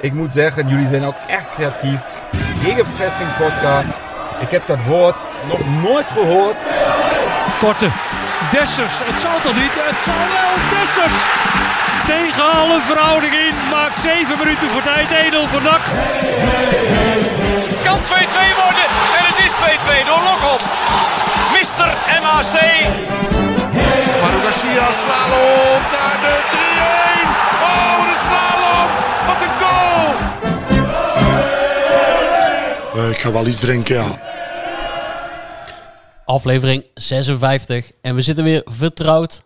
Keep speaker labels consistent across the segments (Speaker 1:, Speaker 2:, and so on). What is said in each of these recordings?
Speaker 1: Ik moet zeggen, jullie zijn ook echt creatief. Gegenpressing podcast. Ik heb dat woord nog nooit gehoord.
Speaker 2: Korte. Dessers. Het zal toch niet? Het zal wel. Dessers. Tegen alle verhouding in. Maakt 7 minuten voor tijd. Edel van Dak.
Speaker 3: Het kan 2-2 worden en het is 2-2 door Lokop. Mister MAC. Maru Garcia slalom naar de 3-1. Oh, wat een slalom. Wat een goal.
Speaker 4: Eh, ik ga wel iets drinken, ja.
Speaker 5: Aflevering 56. En we zitten weer vertrouwd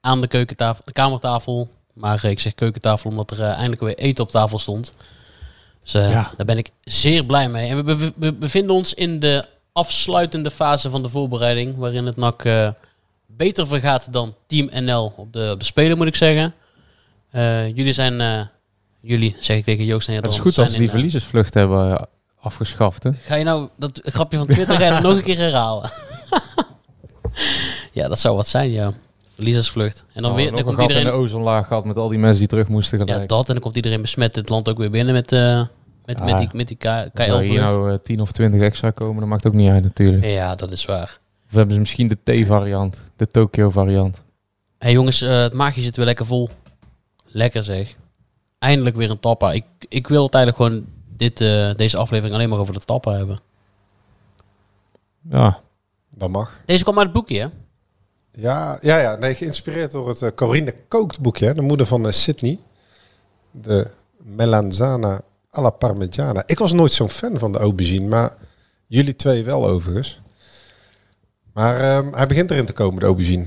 Speaker 5: aan de, keukentafel, de kamertafel. Maar eh, ik zeg keukentafel omdat er eh, eindelijk weer eten op tafel stond. Dus eh, daar ben ik zeer blij mee. En we, be- we bevinden ons in de afsluitende fase van de voorbereiding. Waarin het NAC eh, beter vergaat dan Team NL op de, op de Spelen, moet ik zeggen. Eh, jullie zijn, eh, jullie zeg ik tegen Joost en Jadon,
Speaker 6: Het is goed
Speaker 5: zijn
Speaker 6: dat ze
Speaker 5: in,
Speaker 6: die
Speaker 5: eh,
Speaker 6: verliezersvlucht hebben eh, afgeschaft, hè?
Speaker 5: Ga je nou dat grapje van Twitter ga je dat nog een keer herhalen? ja, dat zou wat zijn, ja. Verliezersvlucht. En dan
Speaker 6: Oh,
Speaker 5: weer
Speaker 6: nog
Speaker 5: dan
Speaker 6: een
Speaker 5: komt
Speaker 6: gat in de
Speaker 5: iedereen.
Speaker 6: ozonlaag gehad met al die mensen die terug moesten
Speaker 5: Ja,
Speaker 6: gelijk.
Speaker 5: dat. En dan komt iedereen besmet het land ook weer binnen met, eh met,
Speaker 6: Ja.
Speaker 5: met die, met die K-
Speaker 6: Als er
Speaker 5: KL-vlucht.
Speaker 6: hier nou eh, 10 of 20 extra komen, dat maakt ook niet uit natuurlijk.
Speaker 5: Ja, dat is waar.
Speaker 6: Of hebben ze misschien de T-variant, de Tokyo-variant.
Speaker 5: Hé hey, jongens, eh, het maagje zit weer lekker vol. Lekker zeg. Eindelijk weer een tappa. Ik, ik wil het eigenlijk gewoon dit, eh, deze aflevering alleen maar over de tappa hebben.
Speaker 6: Ja,
Speaker 7: Dat mag.
Speaker 5: Deze kwam uit het boekje, hè?
Speaker 7: Ja, ja, ja. Nee, geïnspireerd door het eh, Corinne Kookt boekje. hè. De moeder van eh, Sydney. De Melanzana alla Parmigiana. Ik was nooit zo'n fan van de aubergine, maar jullie twee wel overigens. Maar ehm, hij begint erin te komen, de aubergine.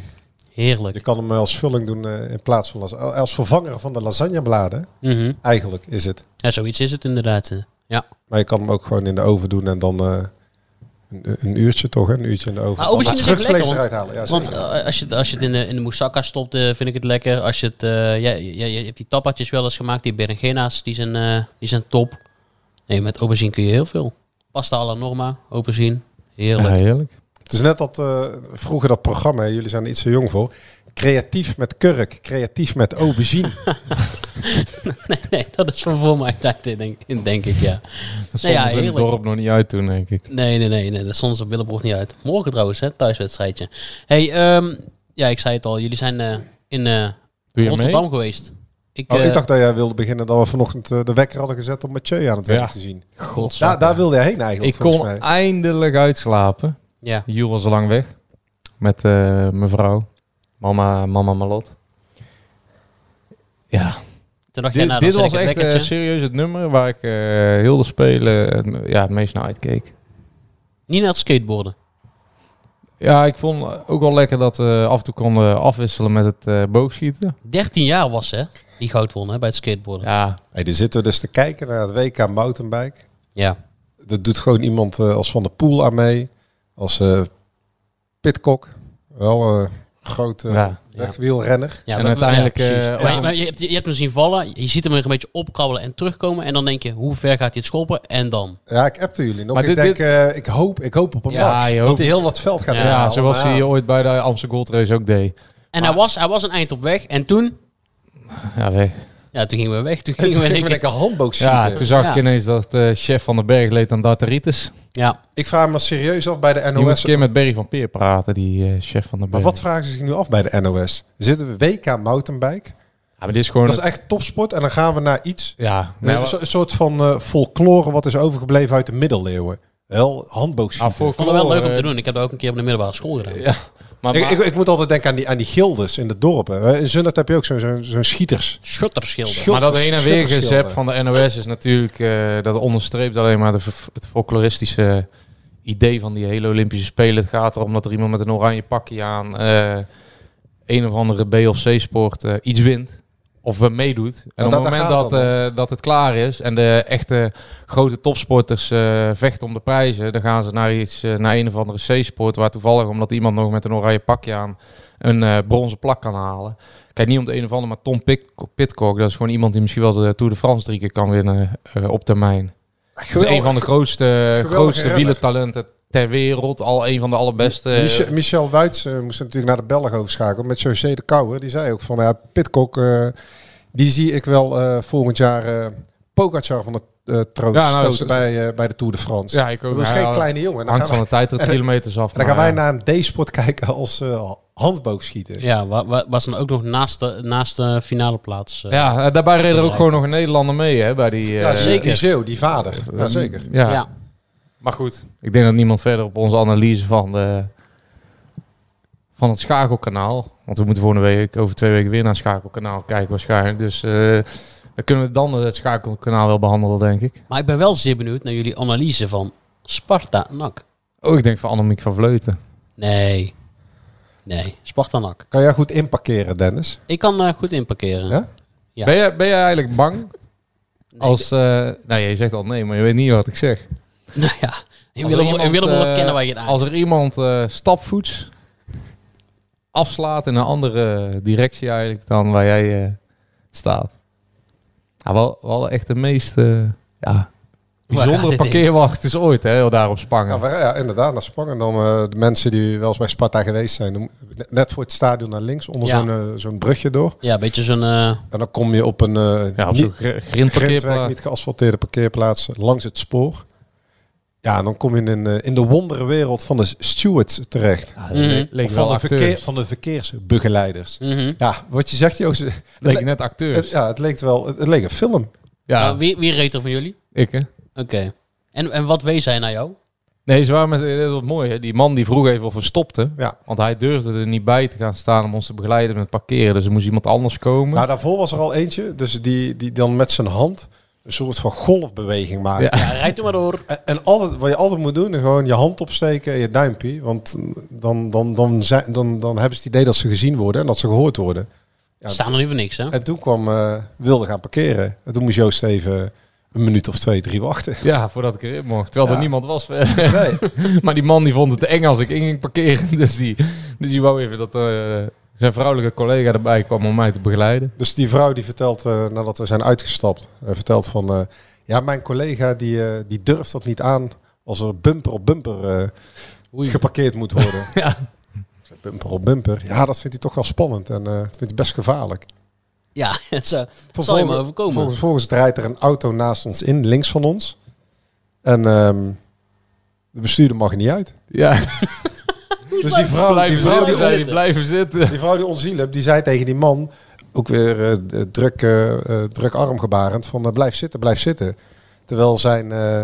Speaker 5: Heerlijk.
Speaker 7: Je kan hem als vulling doen eh, in plaats van las- als vervanger van de lasagnebladen.
Speaker 5: Mhm.
Speaker 7: Eigenlijk is het.
Speaker 5: Ja, zoiets is het inderdaad. eh. Ja.
Speaker 7: Maar je kan hem ook gewoon in de oven doen en dan eh, een, een uurtje toch, hè? een uurtje in de oven.
Speaker 5: Maar
Speaker 7: Dan
Speaker 5: aubergine
Speaker 7: het
Speaker 5: is echt
Speaker 7: vruchtvlees
Speaker 5: lekker, want-
Speaker 7: eruit halen. Ja,
Speaker 5: Want
Speaker 7: zeker.
Speaker 5: eh, als, je, het- als je het in de, in de moussaka stopt, eh, vind ik het lekker. Als je het, eh, ja, ja, je hebt die tapatjes wel eens gemaakt, die berengena's, die zijn, eh, die zijn top. Nee, met aubergine kun je heel veel. Pasta alla norma, aubergine, heerlijk.
Speaker 6: ja heerlijk.
Speaker 7: Het is net dat eh, vroeger dat programma, hè, jullie zijn er iets te jong voor. Creatief met kurk, creatief met aubergine.
Speaker 5: nee, nee, dat is van voor mijn tijd, in, denk, in, denk ik, ja.
Speaker 6: Dat nee,
Speaker 5: Nee, ja,
Speaker 6: ja, in het
Speaker 5: heerlijk.
Speaker 6: dorp nog niet uit toen, denk ik.
Speaker 5: Nee, nee, nee, nee dat stond ons op Willebroek niet uit. Morgen trouwens, hè, thuiswedstrijdje. hey, ehm, ja, ik zei het al, jullie zijn eh, in eh,
Speaker 6: Doe je
Speaker 5: Rotterdam
Speaker 6: mee?
Speaker 5: geweest.
Speaker 7: Oh,
Speaker 5: eh,
Speaker 7: ik dacht dat jij wilde beginnen dat we vanochtend eh, de wekker hadden gezet om Mathieu aan het werk
Speaker 6: Ja.
Speaker 7: te zien.
Speaker 5: godsamme.
Speaker 7: Daar, daar wilde jij heen eigenlijk,
Speaker 6: Ik
Speaker 7: volgens
Speaker 6: kon
Speaker 7: mij.
Speaker 6: eindelijk uitslapen.
Speaker 5: Ja,
Speaker 6: Jules was al lang weg. Met eh, mevrouw. Mama, mama Malot. Ja,
Speaker 5: toen dacht jij,
Speaker 6: Dit,
Speaker 5: nou, dan
Speaker 6: dit
Speaker 5: zet ik
Speaker 6: was
Speaker 5: het
Speaker 6: echt eh,
Speaker 5: lekkertje.
Speaker 6: serieus het nummer waar ik eh, heel de spelen het, me- ja, het meest naar uitkeek.
Speaker 5: Niet naar het skateboarden.
Speaker 6: Ja, ik vond ook wel lekker dat we af en toe konden afwisselen met het eh, boogschieten.
Speaker 5: 13 jaar was hè, die goud won hè, bij het skateboarden. Ja.
Speaker 6: Ja,
Speaker 7: Hey, daar zitten we dus te kijken naar het WK mountainbike. Dat doet gewoon iemand eh, als Van der Poel aan mee. Als eh Pitcock. Wel een grote
Speaker 6: Ja.
Speaker 7: wegwielrenner.
Speaker 5: Ja,
Speaker 6: En
Speaker 5: we-
Speaker 6: uiteindelijk,
Speaker 5: ja, precies.
Speaker 6: eh,
Speaker 5: maar,
Speaker 7: ja.
Speaker 5: maar je, hebt, je hebt hem zien vallen, je ziet hem er een beetje opkrabbelen en terugkomen. En dan denk je, hoe ver gaat hij het schoppen? En dan.
Speaker 7: Ja, ik appte jullie nog.
Speaker 6: Maar
Speaker 7: ik,
Speaker 6: dit-
Speaker 7: denk, eh, ik, hoop, ik hoop op een
Speaker 6: Ja,
Speaker 7: max.
Speaker 6: je
Speaker 7: Dat
Speaker 6: hoopt-
Speaker 7: hij heel dat veld gaat
Speaker 5: Ja,
Speaker 6: ja,
Speaker 7: inhalen,
Speaker 6: zoals
Speaker 7: maar
Speaker 6: hij
Speaker 7: ja.
Speaker 6: ooit bij de Amsterdam Gold Race ook deed.
Speaker 5: En hij, was, hij was een eind op weg. En toen,
Speaker 6: Ja, weg.
Speaker 5: ja, toen gingen we weg. Toen
Speaker 7: En
Speaker 5: gingen we
Speaker 7: toen ging ik
Speaker 5: denk
Speaker 7: met
Speaker 5: ik-
Speaker 7: een handboog
Speaker 6: Ja,
Speaker 7: schieten.
Speaker 6: toen zag ik
Speaker 5: Ja.
Speaker 6: ineens dat eh, chef van den Berg leed aan darteritis.
Speaker 5: Ja,
Speaker 7: Ik vraag me serieus af bij de
Speaker 6: Je moet een
Speaker 7: NOS.
Speaker 6: keer met Berry van Peer praten, die eh, chef van den
Speaker 7: Maar
Speaker 6: Berg.
Speaker 7: wat vragen ze zich nu af bij de NOS? Zitten we WK mountainbike?
Speaker 6: Ja, maar dit is gewoon...
Speaker 7: Dat is
Speaker 6: het-
Speaker 7: echt topsport. En dan gaan we naar iets.
Speaker 6: Ja,
Speaker 7: Nee,
Speaker 6: nou,
Speaker 7: een so- een soort van eh, folklore wat is overgebleven uit de middeleeuwen. Wel, handboogschieten.
Speaker 6: ah, voor-
Speaker 5: ik vond het wel leuk om
Speaker 6: eh,
Speaker 5: te doen. Ik heb dat ook een keer op de middelbare school gedaan.
Speaker 6: Ja, maar,
Speaker 7: Ik, ik, ik moet altijd denken aan die, aan die gildes in de dorpen. In Zundert heb je ook zo'n zo'n zo'n schieters.
Speaker 5: Shutterschilder.
Speaker 7: Schu-
Speaker 6: Maar dat heen en weer
Speaker 7: Schuttersschilder.
Speaker 6: gezep van de NOS is natuurlijk, eh, dat onderstreept alleen maar de, v- het folkloristische idee van die hele Olympische Spelen. Het gaat erom dat er iemand met een oranje pakje aan eh, een of andere B of C sport eh, iets wint. Of eh, meedoet. En
Speaker 7: Ja,
Speaker 6: op het
Speaker 7: daar- Nou, daar
Speaker 6: moment
Speaker 7: gaat
Speaker 6: dat,
Speaker 7: het dan
Speaker 6: eh, dat het klaar is en de echte grote topsporters eh, vechten om de prijzen, dan gaan ze naar, iets, eh, naar een of andere C-sport waar toevallig omdat iemand nog met een oranje pakje aan een eh, bronzen plak kan halen. Kijk, niet om de een of ander, maar Tom Pit- Pitcock, dat is gewoon iemand die misschien wel de Tour de France drie keer kan winnen eh, op termijn. Dat is een van de grootste,
Speaker 7: geweldige
Speaker 6: grootste
Speaker 7: renner.
Speaker 6: wielertalenten ter wereld. Al een van de allerbeste. eh,
Speaker 7: Michel, Michel Wuits eh, moest natuurlijk naar de Belg overschakelen. Met José de Kouwer. Die zei ook van, nou ja, Pitcock, eh, die zie ik wel eh, volgend jaar eh Pogacar van het eh troon
Speaker 6: Ja, nou,
Speaker 7: stoten
Speaker 6: is- is-
Speaker 7: bij, eh, bij de Tour de France.
Speaker 6: Ja, ik ook.
Speaker 7: dat was
Speaker 6: Ja,
Speaker 7: geen
Speaker 6: ja,
Speaker 7: kleine jongen. En Dan
Speaker 6: hangt
Speaker 7: gaan,
Speaker 6: van de tijd er kilometers af.
Speaker 7: wij, dan gaan wij
Speaker 6: maar,
Speaker 7: naar een D-sport kijken als eh handboogschieten.
Speaker 5: Ja, wa- wa- was dan ook nog naast de, naast de finale plaats. eh.
Speaker 6: Ja, eh, daarbij reed er ook gewoon nog een Nederlander mee, hè, bij die... eh,
Speaker 7: Ja,
Speaker 5: zeker.
Speaker 7: Die Zeeuw, die vader. Ja, zeker.
Speaker 6: Ja. eh, mm.
Speaker 5: Ja.
Speaker 6: maar goed. Ik denk dat niemand verder op onze analyse van, de, van het schakelkanaal... Want we moeten volgende week, over twee weken weer naar het schakelkanaal kijken waarschijnlijk. Dus eh, dan kunnen we dan het schakelkanaal wel behandelen, denk ik.
Speaker 5: Maar ik ben wel zeer benieuwd naar jullie analyse van Sparta NAC.
Speaker 6: Oh, ik denk van Annemiek van Vleuten.
Speaker 5: Nee. Nee, Sparta NAC.
Speaker 7: Kan jij goed inparkeren, Dennis?
Speaker 5: Ik kan eh, goed inparkeren.
Speaker 7: Ja?
Speaker 5: Ja.
Speaker 6: Ben, jij, ben jij eigenlijk bang
Speaker 5: Nee,
Speaker 6: als... eh nou, je zegt al nee, maar je weet niet wat ik zeg.
Speaker 5: ik- Nou ja, in
Speaker 6: Als
Speaker 5: Willem,
Speaker 6: er
Speaker 5: in
Speaker 6: iemand,
Speaker 5: Willem wat
Speaker 6: eh,
Speaker 5: kennen wij je aan.
Speaker 6: Als er iemand eh, stapvoets afslaat in een andere directie eigenlijk dan waar jij eh, staat. Ja, wel, wel echt de meest eh, ja,
Speaker 5: gaat
Speaker 6: bijzondere
Speaker 5: dit
Speaker 6: parkeerwacht is ooit, hè, daar op Spangen.
Speaker 7: Ja, maar, Nou, ja inderdaad, naar Spangen. Dan eh, de mensen die wel eens bij Sparta geweest zijn. dan- Net voor het stadion naar links, onder
Speaker 5: Ja.
Speaker 7: zo'n eh, zo'n brugje door.
Speaker 5: Ja, een beetje zo'n... eh,
Speaker 7: En dan kom je op een... eh,
Speaker 6: ja, op
Speaker 7: niet-
Speaker 6: zo'n gr- grindparkeerplaats.
Speaker 7: grindwerk, niet geasfalteerde parkeerplaats langs het spoor. Ja, en dan kom je in, eh, in de wonderwereld van de stewards terecht.
Speaker 6: Ja, Ah, dat le-
Speaker 5: Mhm.
Speaker 6: leek
Speaker 7: Of
Speaker 6: wel
Speaker 7: van, de
Speaker 6: acteurs.
Speaker 7: verkeer, van de verkeersbegeleiders.
Speaker 5: mhm.
Speaker 7: Ja, wat je zegt, Joost. Het,
Speaker 6: Leek
Speaker 7: le-
Speaker 6: net
Speaker 7: het-
Speaker 6: acteurs. Ja,
Speaker 7: ja, het leek wel, het, het leek een film.
Speaker 5: Nou, wie, wie reed er van jullie?
Speaker 6: ik hè.
Speaker 5: Oké. En, en wat wees hij naar jou?
Speaker 6: Nee, ze waren met, eh, dat was mooi hè. Die man die vroeg even of we stopten.
Speaker 7: Ja.
Speaker 6: Want hij durfde er niet bij te gaan staan om ons te begeleiden met parkeren. Dus er moest iemand anders komen.
Speaker 7: Nou, daarvoor was er al eentje, dus die, die dan met zijn hand een soort van golfbeweging maakt.
Speaker 6: Ja.
Speaker 5: Ja, rijd er maar door.
Speaker 7: En, en altijd, wat je altijd moet doen, is gewoon je hand opsteken en je duimpje. Want dan, dan, dan, zijn, dan, dan hebben ze het idee dat ze gezien worden en dat ze gehoord worden. Ja,
Speaker 5: Staan er niet voor niks, hè?
Speaker 7: En toen kwam eh, wilde gaan parkeren. En toen moest Joost even een minuut of twee, drie wachten.
Speaker 6: Ja, voordat ik erin mocht. Terwijl
Speaker 7: Ja.
Speaker 6: er niemand was. eh,
Speaker 7: Nee.
Speaker 6: maar die man die vond het te eng als ik in ging parkeren. Dus die, dus die wou even dat eh, zijn vrouwelijke collega erbij kwam om mij te begeleiden.
Speaker 7: Dus die vrouw die vertelt, eh, nadat we zijn uitgestapt, eh, vertelt van... eh, ja, mijn collega die, eh, die durft dat niet aan als er bumper op bumper eh,
Speaker 5: Oei.
Speaker 7: geparkeerd moet worden.
Speaker 6: Ja.
Speaker 7: Ik zei, Bumper op bumper. Ja, dat vindt hij toch wel spannend en eh, dat vindt hij best gevaarlijk.
Speaker 5: Ja, het zou, zal je me overkomen.
Speaker 7: Volgens, volgens rijdt er een auto naast ons in, links van ons. En ehm, de bestuurder mag er niet uit.
Speaker 6: Ja,
Speaker 7: Dus die vrouw, die
Speaker 6: blijven
Speaker 7: vrouw
Speaker 6: zitten.
Speaker 7: die
Speaker 5: zitten.
Speaker 6: zei die, blijven zitten.
Speaker 7: Die vrouw die ons ziel hebt, die zei tegen die man, ook weer eh, d- druk, eh, eh, druk armgebarend, van eh, blijf zitten, blijf zitten. Terwijl zijn, eh,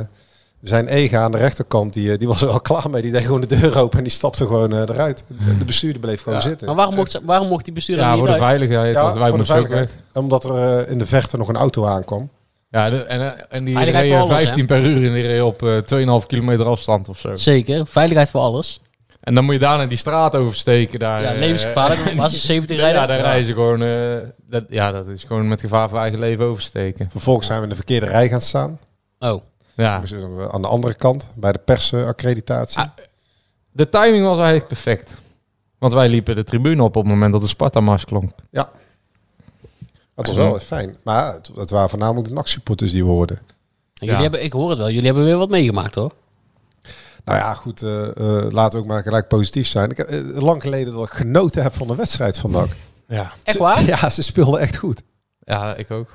Speaker 7: zijn ega aan de rechterkant, die, eh, die was er wel klaar mee. Die deed gewoon de deur open en die stapte gewoon eh, eruit. De bestuurder bleef gewoon
Speaker 6: Ja,
Speaker 7: zitten.
Speaker 5: Maar waarom mocht, ze- waarom mocht die bestuurder
Speaker 6: Ja,
Speaker 5: niet
Speaker 6: voor de
Speaker 5: uit?
Speaker 6: veiligheid.
Speaker 7: Ja,
Speaker 6: want wij
Speaker 7: voor de
Speaker 6: moesten ook weg.
Speaker 7: veiligheid. En Omdat er eh, in de verte nog een auto aankwam.
Speaker 6: Ja, de- en, eh, en die
Speaker 5: Veiligheid
Speaker 6: reed
Speaker 5: voor alles,
Speaker 6: 15 per uur en die reed op eh 2,5 kilometer afstand of zo.
Speaker 5: Zeker, veiligheid voor alles.
Speaker 6: En dan moet je daarna die straat oversteken. Daar,
Speaker 5: Ja,
Speaker 6: eh,
Speaker 5: levensgevaarlijk, maar ze 70 rijden.
Speaker 6: Ja, daar rijden ze gewoon... eh, dat, ja, dat is gewoon met gevaar voor eigen leven oversteken.
Speaker 7: Vervolgens zijn we in de verkeerde rij gaan staan.
Speaker 5: Oh,
Speaker 6: Ja.
Speaker 7: Dus, eh, Aan de andere kant, bij de persaccreditatie.
Speaker 6: Ah. De timing was eigenlijk perfect. Want wij liepen de tribune op op het moment dat de Sparta-mars klonk.
Speaker 7: Dat
Speaker 6: Mm.
Speaker 7: was wel fijn. Maar het, het waren voornamelijk de nachtsupporters die we hoorden.
Speaker 5: jullie
Speaker 6: Ja.
Speaker 5: hebben, ik hoor het wel. Jullie hebben weer wat meegemaakt, hoor.
Speaker 7: Nou ja, goed, eh, eh, laten we ook maar gelijk positief zijn. Ik heb eh, lang geleden dat ik genoten heb van de wedstrijd vandaag.
Speaker 6: Ja.
Speaker 5: Echt waar?
Speaker 7: Ja, ze speelden echt goed.
Speaker 6: Ja, ik ook.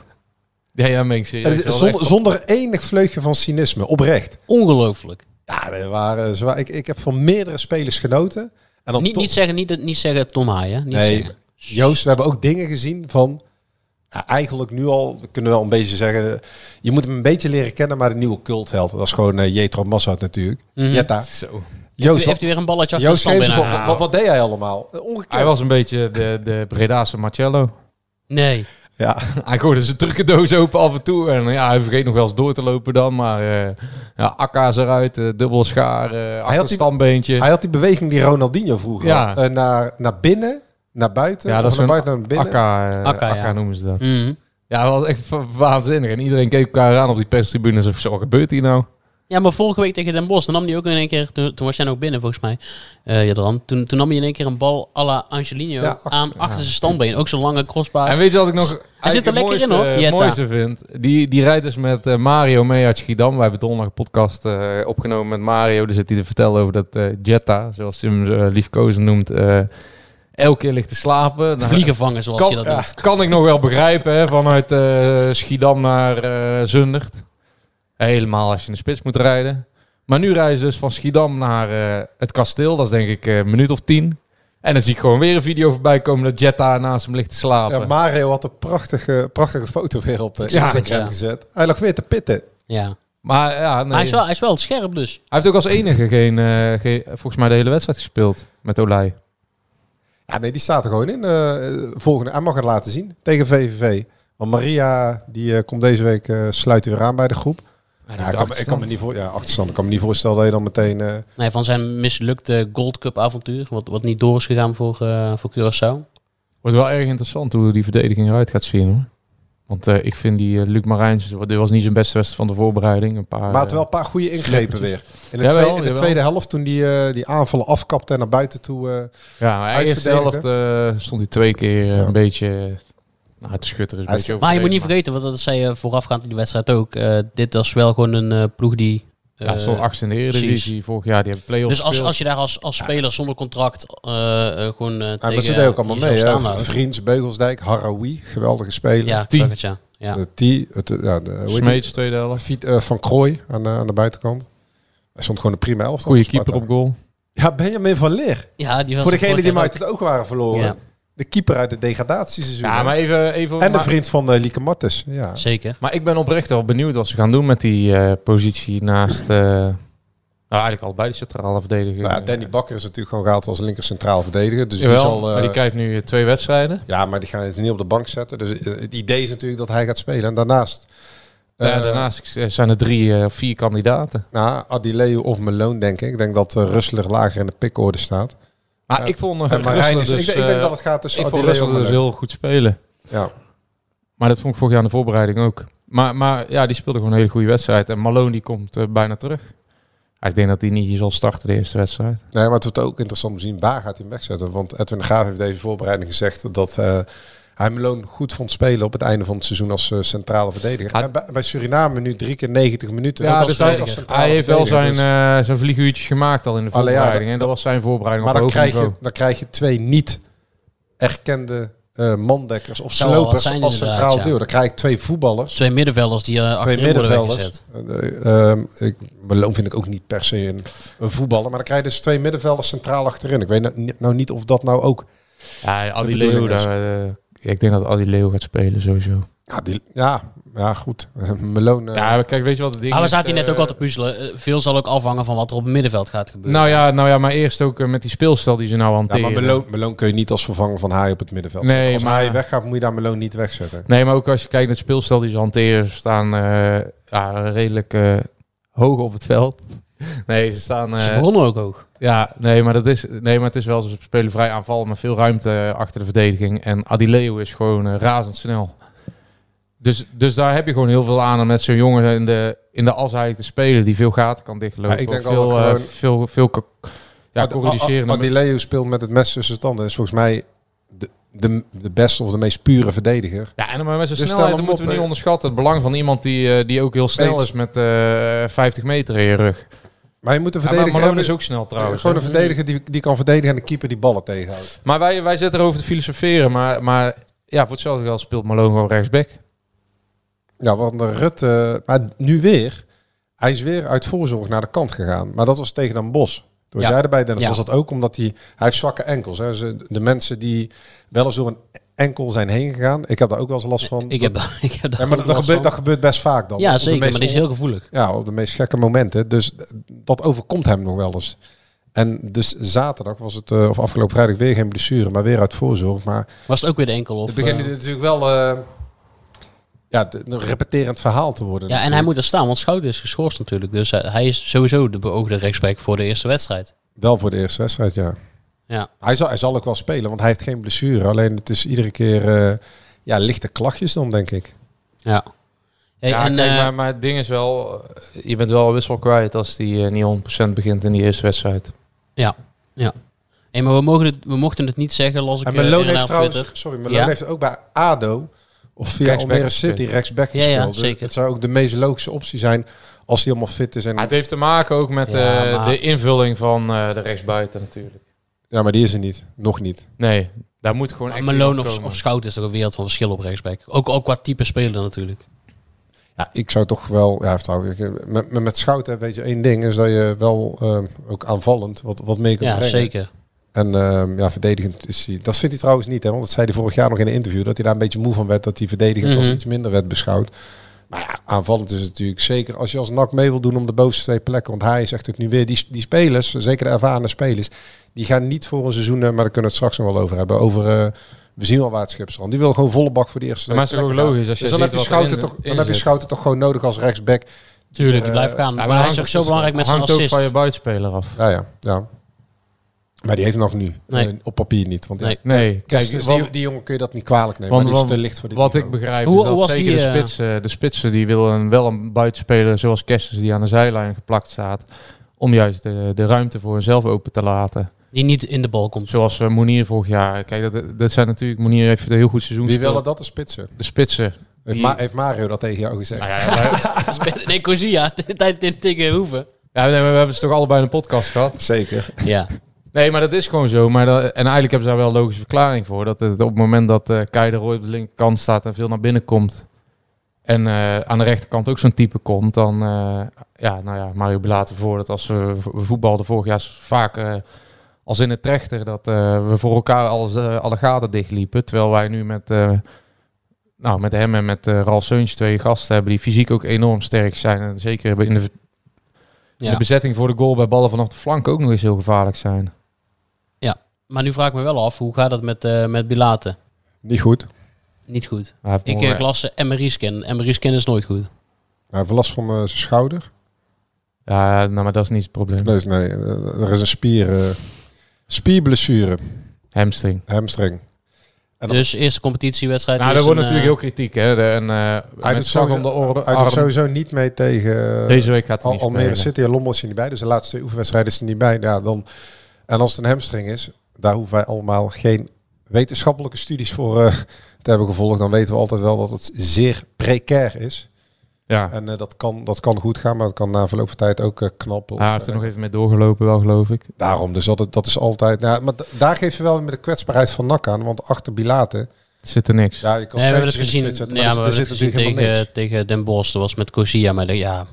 Speaker 6: Ja, ja, ben ik
Speaker 7: En
Speaker 6: serieus.
Speaker 7: het is zonder, zonder enig vleugje van cynisme, oprecht.
Speaker 5: Ongelooflijk.
Speaker 7: Ja, er waren, zwaar- ik, ik heb van meerdere spelers genoten. En dan
Speaker 5: Niet,
Speaker 7: toch-
Speaker 5: niet zeggen, niet, niet zeggen Tom Haaien. Niet
Speaker 7: Nee.
Speaker 5: zeggen.
Speaker 7: Joost, we hebben ook dingen gezien van... ja, eigenlijk nu al, we kunnen wel een beetje zeggen... eh, Je moet hem een beetje leren kennen, maar de nieuwe cultheld. Dat is gewoon eh, Jetro Massad natuurlijk.
Speaker 5: Mhm.
Speaker 7: Jetta.
Speaker 6: Zo.
Speaker 5: Heeft,
Speaker 7: Joost,
Speaker 5: u, heeft u weer een balletje achter de
Speaker 7: Joost
Speaker 5: stand
Speaker 7: geef eens
Speaker 5: binnen?
Speaker 7: voor- wat, wat deed hij allemaal? Eh, Ongekend.
Speaker 6: Hij was een beetje de, de Bredaanse Marcello.
Speaker 5: Nee.
Speaker 6: Ja, hij gooide zijn trucendoos open af en toe. En ja, hij vergeet nog wel eens door te lopen dan. Maar eh, ja, akka's eruit, eh, dubbel schaar, eh achterstandbeentje.
Speaker 7: Hij had die beweging die Ronaldinho vroeger
Speaker 6: Ja.
Speaker 7: had. Eh, naar, naar binnen, naar buiten.
Speaker 6: ja, dat is
Speaker 7: eh,
Speaker 6: zo'n
Speaker 7: van naar buiten naar binnen.
Speaker 6: akka, eh,
Speaker 5: Akka, ja.
Speaker 6: akka noemen ze dat.
Speaker 5: Mhm.
Speaker 6: Ja, dat was echt wa- waanzinnig. En iedereen keek elkaar aan op die perstribune. Zo, zo, wat gebeurt hier nou?
Speaker 5: Ja, maar vorige week tegen Den Bosch, dan nam hij ook in één keer, toen, toen was jij nog binnen volgens mij, eh Jadran, toen, toen nam hij in één keer een bal à la Angelino
Speaker 7: Ja, ach-
Speaker 5: aan achter zijn standbeen. Ook zo'n lange crossbaas.
Speaker 6: En weet je wat ik nog
Speaker 5: Hij zit er
Speaker 6: eigenlijk
Speaker 5: lekker
Speaker 6: het
Speaker 5: in, hoor,
Speaker 6: mooiste, eh,
Speaker 5: Jetta.
Speaker 6: mooiste vind? Die, die rijdt dus met eh, Mario mee uit Schiedam. Wij hebben donderdag een podcast eh, opgenomen met Mario. Daar zit hij te vertellen over dat eh, Jetta, zoals hij hem eh, liefkozen noemt, eh, elke keer ligt te slapen. Dan-
Speaker 5: Vliegen vangen, zoals
Speaker 6: kan,
Speaker 5: je dat
Speaker 6: ja,
Speaker 5: noemt.
Speaker 6: kan ik nog wel begrijpen, hè, vanuit eh, Schiedam naar eh Zundert. Helemaal als je in de spits moet rijden. Maar nu rijden ze dus van Schiedam naar eh, het kasteel. Dat is denk ik eh, een minuut of tien. En dan zie ik gewoon weer een video voorbij komen dat Jetta naast hem ligt te slapen.
Speaker 7: Ja, Mario had een prachtige, prachtige foto weer op eh,
Speaker 5: Ja.
Speaker 7: Instagram
Speaker 5: Ja.
Speaker 7: gezet. Hij lag weer te pitten.
Speaker 5: Ja. Maar
Speaker 6: Maar ja, nee.
Speaker 5: hij is, wel, hij is wel scherp dus.
Speaker 6: Hij heeft ook als enige geen, eh, geen- volgens mij de hele wedstrijd gespeeld met Olij.
Speaker 7: Ja, nee, die staat er gewoon in. eh, volgende. Hij mag het laten zien tegen VVV. Want Maria, die eh, komt deze week, eh, sluit weer aan bij de groep. Ja, ik, kan, me- ik kan me niet voor, ja, achterstand. Ik kan me niet voorstellen dat je dan meteen...
Speaker 6: Ah,
Speaker 7: eh,
Speaker 5: Nee, van zijn mislukte Gold Cup avontuur, wat, wat niet door is gegaan voor, eh voor Curaçao.
Speaker 6: Wordt wel erg interessant hoe die verdediging eruit gaat zien hoor. Want eh, ik vind die eh, Luc Marijns, dit was niet zijn beste wedstrijd van de voorbereiding. Een paar,
Speaker 7: maar het
Speaker 6: eh,
Speaker 7: wel een paar goede ingrepen weer. In de,
Speaker 6: Jawel,
Speaker 7: tweede, in de
Speaker 6: jawel.
Speaker 7: tweede helft, toen die, eh, die aanvallen afkapte en naar buiten toe... eh,
Speaker 6: Ja, maar de eerste
Speaker 7: Uitverdedigd,
Speaker 6: helft eh, stond hij twee keer eh,
Speaker 7: Ja.
Speaker 6: een beetje eh, nou, te schutteren. Is een
Speaker 7: Hij
Speaker 6: beetje
Speaker 7: is-
Speaker 5: Maar je moet niet
Speaker 6: overdreven,
Speaker 5: vergeten, want dat zei je voorafgaand in die wedstrijd ook, eh, dit was wel gewoon een eh, ploeg die... eh,
Speaker 6: maar- Ja, stond achtste in de Eredivisie vorig jaar. Die hebben play-offs
Speaker 5: dus als,
Speaker 6: gespeeld.
Speaker 5: als je daar als, als speler zonder contract eh, eh, gewoon eh
Speaker 7: Ja,
Speaker 5: tegen...
Speaker 7: maar ze deden ook allemaal
Speaker 5: jezelf
Speaker 7: mee.
Speaker 5: staan
Speaker 7: Hè?
Speaker 5: houdt.
Speaker 7: Vriends, Beugelsdijk, Haroui, geweldige speler.
Speaker 5: Ja, ik
Speaker 6: Tien.
Speaker 5: zag het, ja. ja.
Speaker 7: De T, het, eh, ja, de, hoe heet
Speaker 6: Smeets, tweede
Speaker 7: die?
Speaker 6: helft.
Speaker 7: Fiet- eh, van Krooi aan, de- aan de buitenkant. Hij stond gewoon een prima elf.
Speaker 6: Goede keeper op goal.
Speaker 7: Ja, Benjamin van Leer.
Speaker 5: ja die was
Speaker 7: Voor
Speaker 5: er
Speaker 7: degene die
Speaker 5: vorig
Speaker 7: hem
Speaker 5: jaar
Speaker 7: uit het oog waren verloren.
Speaker 5: Ja.
Speaker 7: De keeper uit de degradatieseizoen.
Speaker 6: Ja, maar even... even
Speaker 7: En de
Speaker 6: maar,
Speaker 7: vriend van eh Lieke Martens. Ja.
Speaker 5: ook. Zeker.
Speaker 6: maar ik ben oprecht wel benieuwd wat ze gaan doen met die eh, positie naast... eh, nou, eigenlijk al bij de centrale verdediger.
Speaker 7: Nou, ja, Danny Bakker is natuurlijk gewoon gehaald als linker centraal verdediger. Dus
Speaker 6: Jawel,
Speaker 7: die zal... eh,
Speaker 6: maar die krijgt nu eh, twee wedstrijden.
Speaker 7: ja, maar die gaan het niet op de bank zetten. Dus eh, het idee is natuurlijk dat hij gaat spelen. En daarnaast...
Speaker 6: Ja,
Speaker 7: eh,
Speaker 6: daarnaast eh, zijn er drie eh, of vier kandidaten.
Speaker 7: Nou, Adileu of Meloon, denk ik. Ik denk dat eh Rustler lager in de pickorde staat.
Speaker 6: Maar
Speaker 7: Ja.
Speaker 6: ik vond
Speaker 7: En
Speaker 6: uh,
Speaker 7: Marijn
Speaker 6: dus...
Speaker 7: is- ik, denk- ik
Speaker 6: eh,
Speaker 7: denk dat het gaat tussen
Speaker 6: ik vond
Speaker 7: Adileo
Speaker 6: Russell
Speaker 7: en
Speaker 6: dus
Speaker 7: Leuk.
Speaker 6: heel goed spelen.
Speaker 7: Ja.
Speaker 6: Maar dat vond ik vorig jaar in de voorbereiding ook. Maar, maar ja, die speelde gewoon een hele goede wedstrijd. En Malone die komt eh, bijna terug. Ja, ik denk dat hij niet hier zal starten de eerste wedstrijd.
Speaker 7: Nee, maar het wordt ook interessant om te zien waar gaat hij hem wegzetten. Want Edwin de Graaf heeft deze voorbereiding gezegd dat eh, hij Meloon goed vond spelen op het einde van het seizoen als eh, centrale verdediger.
Speaker 6: Hij-
Speaker 7: En bij, bij Suriname nu drie keer 90 minuten.
Speaker 6: Ja,
Speaker 7: Ook als
Speaker 6: dus hij,
Speaker 7: verdediger.
Speaker 6: hij heeft wel zijn,
Speaker 7: Dus-
Speaker 6: eh, zijn vlieguurtjes gemaakt al in de
Speaker 7: Alleen ja,
Speaker 6: voorbereiding.
Speaker 7: dat-
Speaker 6: en dat was zijn voorbereiding
Speaker 7: maar
Speaker 6: op
Speaker 7: dan
Speaker 6: hoog
Speaker 7: krijg, je,
Speaker 6: niveau.
Speaker 7: dan krijg je twee niet erkende eh, mandekkers of
Speaker 5: Zou wel wat
Speaker 7: slopers
Speaker 5: zijn
Speaker 7: als
Speaker 5: inderdaad,
Speaker 7: centraal
Speaker 5: ja.
Speaker 7: duo. Dan krijg ik twee voetballers.
Speaker 5: Twee middenvelders die eh
Speaker 7: Twee
Speaker 5: achterin worden
Speaker 7: middenvelders.
Speaker 5: weggezet.
Speaker 7: Eh, ehm, ik, Malone vind ik ook niet per se een, een voetballer. Maar dan krijg je dus twee middenvelders centraal achterin. Ik weet nou, nou niet of dat nou ook...
Speaker 6: Ja, Adi
Speaker 7: de bedoeling
Speaker 6: Leeuw,
Speaker 7: is.
Speaker 6: daar, eh, ik denk dat Adi Leeuw gaat spelen sowieso.
Speaker 7: Ja, die, ja, ja goed. Malone... eh,
Speaker 6: Ja, maar kijk, weet je wat het ding
Speaker 5: Ah, Maar we
Speaker 6: is?
Speaker 5: zaten hier net ook
Speaker 6: Eh,
Speaker 5: al te puzzelen. Eh, Veel zal ook afhangen van wat er op het middenveld gaat gebeuren.
Speaker 6: Nou ja, nou ja, maar eerst ook eh, met die speelstijl die ze nou
Speaker 7: Ja,
Speaker 6: hanteren.
Speaker 7: maar Meloon, Meloon kun je niet als vervanger van Haai op het middenveld zetten.
Speaker 6: Nee,
Speaker 7: als
Speaker 6: maar-
Speaker 7: Haai weggaat, moet je daar Meloon niet wegzetten.
Speaker 6: Nee, maar ook als je kijkt naar het speelstijl die ze hanteren, ze staan eh, ja, redelijk eh, hoog op het veld. Nee, ze staan.
Speaker 5: Ze
Speaker 6: eh,
Speaker 5: begonnen ook hoog.
Speaker 6: ja, nee, maar dat is, nee, maar het is wel ze spelen vrij aanval met veel ruimte eh, achter de verdediging. En Adileo is gewoon eh, razendsnel. Dus, dus daar heb je gewoon heel veel aan om met zo'n jongen in de, in de as te spelen die veel gaten kan dichtlopen.
Speaker 7: Ja, ik denk
Speaker 6: Of veel,
Speaker 7: wel dat
Speaker 6: eh,
Speaker 7: gewoon-
Speaker 6: veel, veel, co- ja, corrigeren.
Speaker 7: Maar Leo speelt met het mes tussen de tanden. is volgens mij de, de, de beste of de meest pure verdediger.
Speaker 6: Ja, en maar met zijn snelheid
Speaker 7: Dus stel hem
Speaker 6: moeten
Speaker 7: op,
Speaker 6: we niet
Speaker 7: hè.
Speaker 6: onderschatten. Het belang van iemand die, eh, die ook heel snel
Speaker 7: Eens.
Speaker 6: is met eh, 50 meter in je rug.
Speaker 7: Maar je moet een
Speaker 6: Ja, maar
Speaker 7: verdediger
Speaker 6: Malone
Speaker 7: hebben...
Speaker 6: is ook snel trouwens.
Speaker 7: gewoon
Speaker 6: hè.
Speaker 7: een verdediger die, die kan verdedigen en de keeper die ballen tegenhoudt.
Speaker 6: Maar wij, wij zitten erover te filosoferen. Maar, maar ja, voor hetzelfde geld speelt Malone gewoon rechtsback.
Speaker 7: Ja, want de Rutte... Maar nu weer. Hij is weer uit voorzorg naar de kant gegaan. Maar dat was tegen een Bos. Toen was
Speaker 5: Ja.
Speaker 7: jij erbij, Dennis,
Speaker 5: Ja.
Speaker 7: was dat ook omdat hij... Hij heeft zwakke enkels. Hè. Ze- De mensen die wel eens door een enkel zijn heen gegaan. Ik heb daar ook wel eens last van.
Speaker 5: Ik heb, ik heb daar
Speaker 7: Ja, maar
Speaker 5: ook
Speaker 7: dat,
Speaker 5: last
Speaker 7: gebeurt,
Speaker 5: van.
Speaker 7: dat gebeurt best vaak dan.
Speaker 5: Ja,
Speaker 7: Op de
Speaker 5: zeker.
Speaker 7: meest
Speaker 5: Maar die is heel gevoelig.
Speaker 7: on- Ja, op de meest gekke momenten. Dus d- dat overkomt hem nog wel eens. En dus zaterdag was het, eh, of afgelopen vrijdag, weer geen blessure, maar weer uit voorzorg. Maar
Speaker 5: Was het ook weer de enkel? Of,
Speaker 7: het begint
Speaker 5: eh,
Speaker 7: natuurlijk wel eh, ja, de- een repeterend verhaal te worden.
Speaker 5: Ja, en hij
Speaker 7: natuurlijk.
Speaker 5: moet er staan, want Schouten is geschorst natuurlijk. Dus hij- hij is sowieso de beoogde rechtsback voor de eerste wedstrijd.
Speaker 7: Wel voor de eerste wedstrijd, ja.
Speaker 5: Ja.
Speaker 7: Hij zal, hij zal ook wel spelen, want hij heeft geen blessure. Alleen het is iedere keer eh, ja, lichte klachtjes dan, denk ik.
Speaker 5: Ja. Hey,
Speaker 6: ja,
Speaker 5: en,
Speaker 6: kijk,
Speaker 5: eh,
Speaker 6: maar, maar het ding is wel, eh, je bent wel wissel kwijt als die eh, niet 100% begint in die eerste wedstrijd.
Speaker 5: ja, ja. Hey, maar we, mogen het, we mochten het niet zeggen, las ik
Speaker 7: En
Speaker 5: eh,
Speaker 7: Meloon
Speaker 5: inderdaad
Speaker 7: heeft
Speaker 5: op
Speaker 7: trouwens,
Speaker 5: Twitter.
Speaker 7: sorry, Meloon
Speaker 5: Ja.
Speaker 7: heeft ook bij ADO of via
Speaker 6: Rechtsback
Speaker 7: Almere
Speaker 6: gespeeld.
Speaker 7: City rechtsback
Speaker 5: Ja, ja,
Speaker 7: gespeeld. Dus
Speaker 5: zeker.
Speaker 7: Het zou ook de meest logische optie zijn als hij helemaal fit is. En,
Speaker 6: Maar het heeft te maken ook met
Speaker 5: Ja,
Speaker 6: eh,
Speaker 5: maar-
Speaker 6: de invulling van eh, de rechtsbuiten natuurlijk.
Speaker 7: ja, maar die is er niet. Nog niet.
Speaker 6: Nee, daar moet gewoon
Speaker 5: Maar
Speaker 6: echt
Speaker 5: Meloon
Speaker 6: iemand
Speaker 5: of,
Speaker 6: komen.
Speaker 5: of Schouten is toch een wereld van verschil op rechtsback. Ook, ook qua type speler natuurlijk.
Speaker 7: Ja, ik zou toch wel... Ja, trouwens, ik- met, met, met Schouten weet je één ding. Is dat je wel eh, ook aanvallend wat, wat mee kan
Speaker 5: Ja,
Speaker 7: brengen.
Speaker 5: zeker.
Speaker 7: En ehm, ja, verdedigend is hij. Dat vindt hij trouwens niet, hè? Want dat zei hij vorig jaar nog in een interview. Dat hij daar een beetje moe van werd. Dat hij verdedigend
Speaker 5: Mhm.
Speaker 7: als iets minder werd beschouwd. Maar ja, aanvallend is het natuurlijk zeker. Als je als NAC mee wil doen om de bovenste twee plekken. Want hij zegt het nu weer. Die, die spelers, zeker de ervaren spelers. Die gaan niet voor een seizoen. eh, Maar daar kunnen we het straks nog wel over hebben. Over. eh, we zien wel waar het schip strandt. Die wil gewoon volle bak voor die eerste.
Speaker 6: Maar
Speaker 7: twee
Speaker 6: het is ook
Speaker 7: plekken
Speaker 6: logisch als
Speaker 7: gaan.
Speaker 6: je
Speaker 7: dus dan,
Speaker 6: ziet
Speaker 7: heb je,
Speaker 6: wat
Speaker 7: schouten
Speaker 6: erin-
Speaker 7: toch,
Speaker 6: in
Speaker 7: dan heb je
Speaker 6: zit.
Speaker 7: schouten toch gewoon nodig als rechtsback.
Speaker 5: Tuurlijk,
Speaker 7: Eh,
Speaker 5: blijf
Speaker 6: Ja,
Speaker 5: gaan. maar hij
Speaker 6: hangt
Speaker 5: is ook
Speaker 6: ook-
Speaker 5: zo belangrijk met zijn
Speaker 6: hangt ook
Speaker 5: assist.
Speaker 6: van je buitenspeler af.
Speaker 7: Ja, ja, ja. Maar die heeft nog nu.
Speaker 5: Nee.
Speaker 7: Eh, op papier niet. Want ja,
Speaker 5: Nee.
Speaker 6: Nee,
Speaker 7: Kijk,
Speaker 6: kijk, wat,
Speaker 7: Dus, die, die jongen kun je dat niet kwalijk nemen.
Speaker 6: want-
Speaker 7: maar die is
Speaker 6: want
Speaker 7: te licht voor dit
Speaker 6: wat ik
Speaker 7: niveau.
Speaker 6: begrijp
Speaker 5: Hoe-
Speaker 6: is
Speaker 5: hoe
Speaker 6: dat
Speaker 5: was
Speaker 6: zeker
Speaker 5: die,
Speaker 6: de,
Speaker 5: eh,
Speaker 6: spitsen, de spitsen die willen wel een buitenspeler zoals Kerstens die aan de zijlijn geplakt staat. Om juist de, de ruimte voor hunzelf open te laten.
Speaker 5: Die niet in de bal komt.
Speaker 6: Zoals eh, Monier vorig jaar. Kijk, dat, dat zijn natuurlijk... Monier heeft een heel goed seizoen
Speaker 7: Wie willen
Speaker 6: gespeeld.
Speaker 7: dat de spitsen?
Speaker 6: De spitsen.
Speaker 7: Heeft,
Speaker 6: Die-
Speaker 7: Ma- heeft Mario dat tegen jou gezegd?
Speaker 5: nee, Corsia, tijd tegen Hoeven.
Speaker 6: Ja, nee, maar we hebben ze toch allebei in een podcast gehad.
Speaker 7: Zeker.
Speaker 5: Ja.
Speaker 6: Nee, maar dat is gewoon zo. Maar dat- en eigenlijk hebben ze daar wel een logische verklaring voor. Dat het op het moment dat eh Kai de Roy op de linkerkant staat en veel naar binnen komt. En eh, aan de rechterkant ook zo'n type komt. Dan, eh, ja, nou ja, Mario Belaten voor dat als we, we voetbalden vorig jaar vaak eh, als in het trechter. Dat eh, we voor elkaar alles, eh, alle gaten dichtliepen. Terwijl wij nu met, eh, nou, met hem en met eh Ralf Seuntjes twee gasten hebben die fysiek ook enorm sterk zijn. En zeker in de, in de
Speaker 5: ja.
Speaker 6: bezetting voor de goal bij ballen vanaf de flank ook nog eens heel gevaarlijk zijn.
Speaker 5: Maar nu vraag ik me wel af, hoe gaat dat met, eh met Bilaten?
Speaker 7: Niet goed.
Speaker 5: Niet goed.
Speaker 6: Hij heeft
Speaker 5: Ik
Speaker 6: nog-
Speaker 5: eh, las de MRI-scan. MRI-scan is nooit goed.
Speaker 7: Hij heeft last van eh, zijn schouder.
Speaker 6: Ja, nou, maar dat is niet het probleem.
Speaker 7: Nee, nee eh, er is een spier, eh, spierblessure.
Speaker 6: Hamstring.
Speaker 7: Hamstring. En dan-
Speaker 5: Dus eerste competitiewedstrijd.
Speaker 6: Nou,
Speaker 5: is
Speaker 6: dat wordt
Speaker 5: een, eh,
Speaker 6: natuurlijk heel kritiek, hè. De, en, eh
Speaker 7: Hij
Speaker 6: met
Speaker 7: doet,
Speaker 6: slag om de
Speaker 7: sowieso,
Speaker 6: oren.
Speaker 7: hij doet
Speaker 6: arm.
Speaker 7: sowieso niet mee tegen eh,
Speaker 6: Deze week gaat hij
Speaker 7: Al
Speaker 6: niet
Speaker 7: Almere
Speaker 6: spelen.
Speaker 7: City en Lommel is hij niet bij. Dus de laatste twee oefenwedstrijden is hij niet bij. Ja, dan, en als het een hamstring is, daar hoeven wij allemaal geen wetenschappelijke studies voor eh, te hebben gevolgd. Dan weten we altijd wel dat het zeer precair is.
Speaker 6: Ja,
Speaker 7: En eh, dat, kan, dat kan goed gaan, maar dat kan na verloop van tijd ook eh, knappen.
Speaker 6: hij heeft er Ah, nog even mee doorgelopen wel, geloof ik.
Speaker 7: Daarom, dus dat, dat is altijd... Nou, maar d- daar geef je wel weer met de kwetsbaarheid van NAC aan. Want achter Bilaten...
Speaker 6: Er zit er niks.
Speaker 7: Ja, je kan
Speaker 5: Nee, we hebben het
Speaker 7: Seuntjes
Speaker 5: gezien,
Speaker 7: in de
Speaker 5: ja, maar
Speaker 7: spits zetten,
Speaker 5: we
Speaker 7: maar er-
Speaker 5: hebben
Speaker 7: er
Speaker 5: het
Speaker 7: zit
Speaker 5: gezien
Speaker 7: natuurlijk helemaal niks.
Speaker 5: tegen, tegen Den Bosch. Dat was met Corsia. Maar de- ja, zelfs,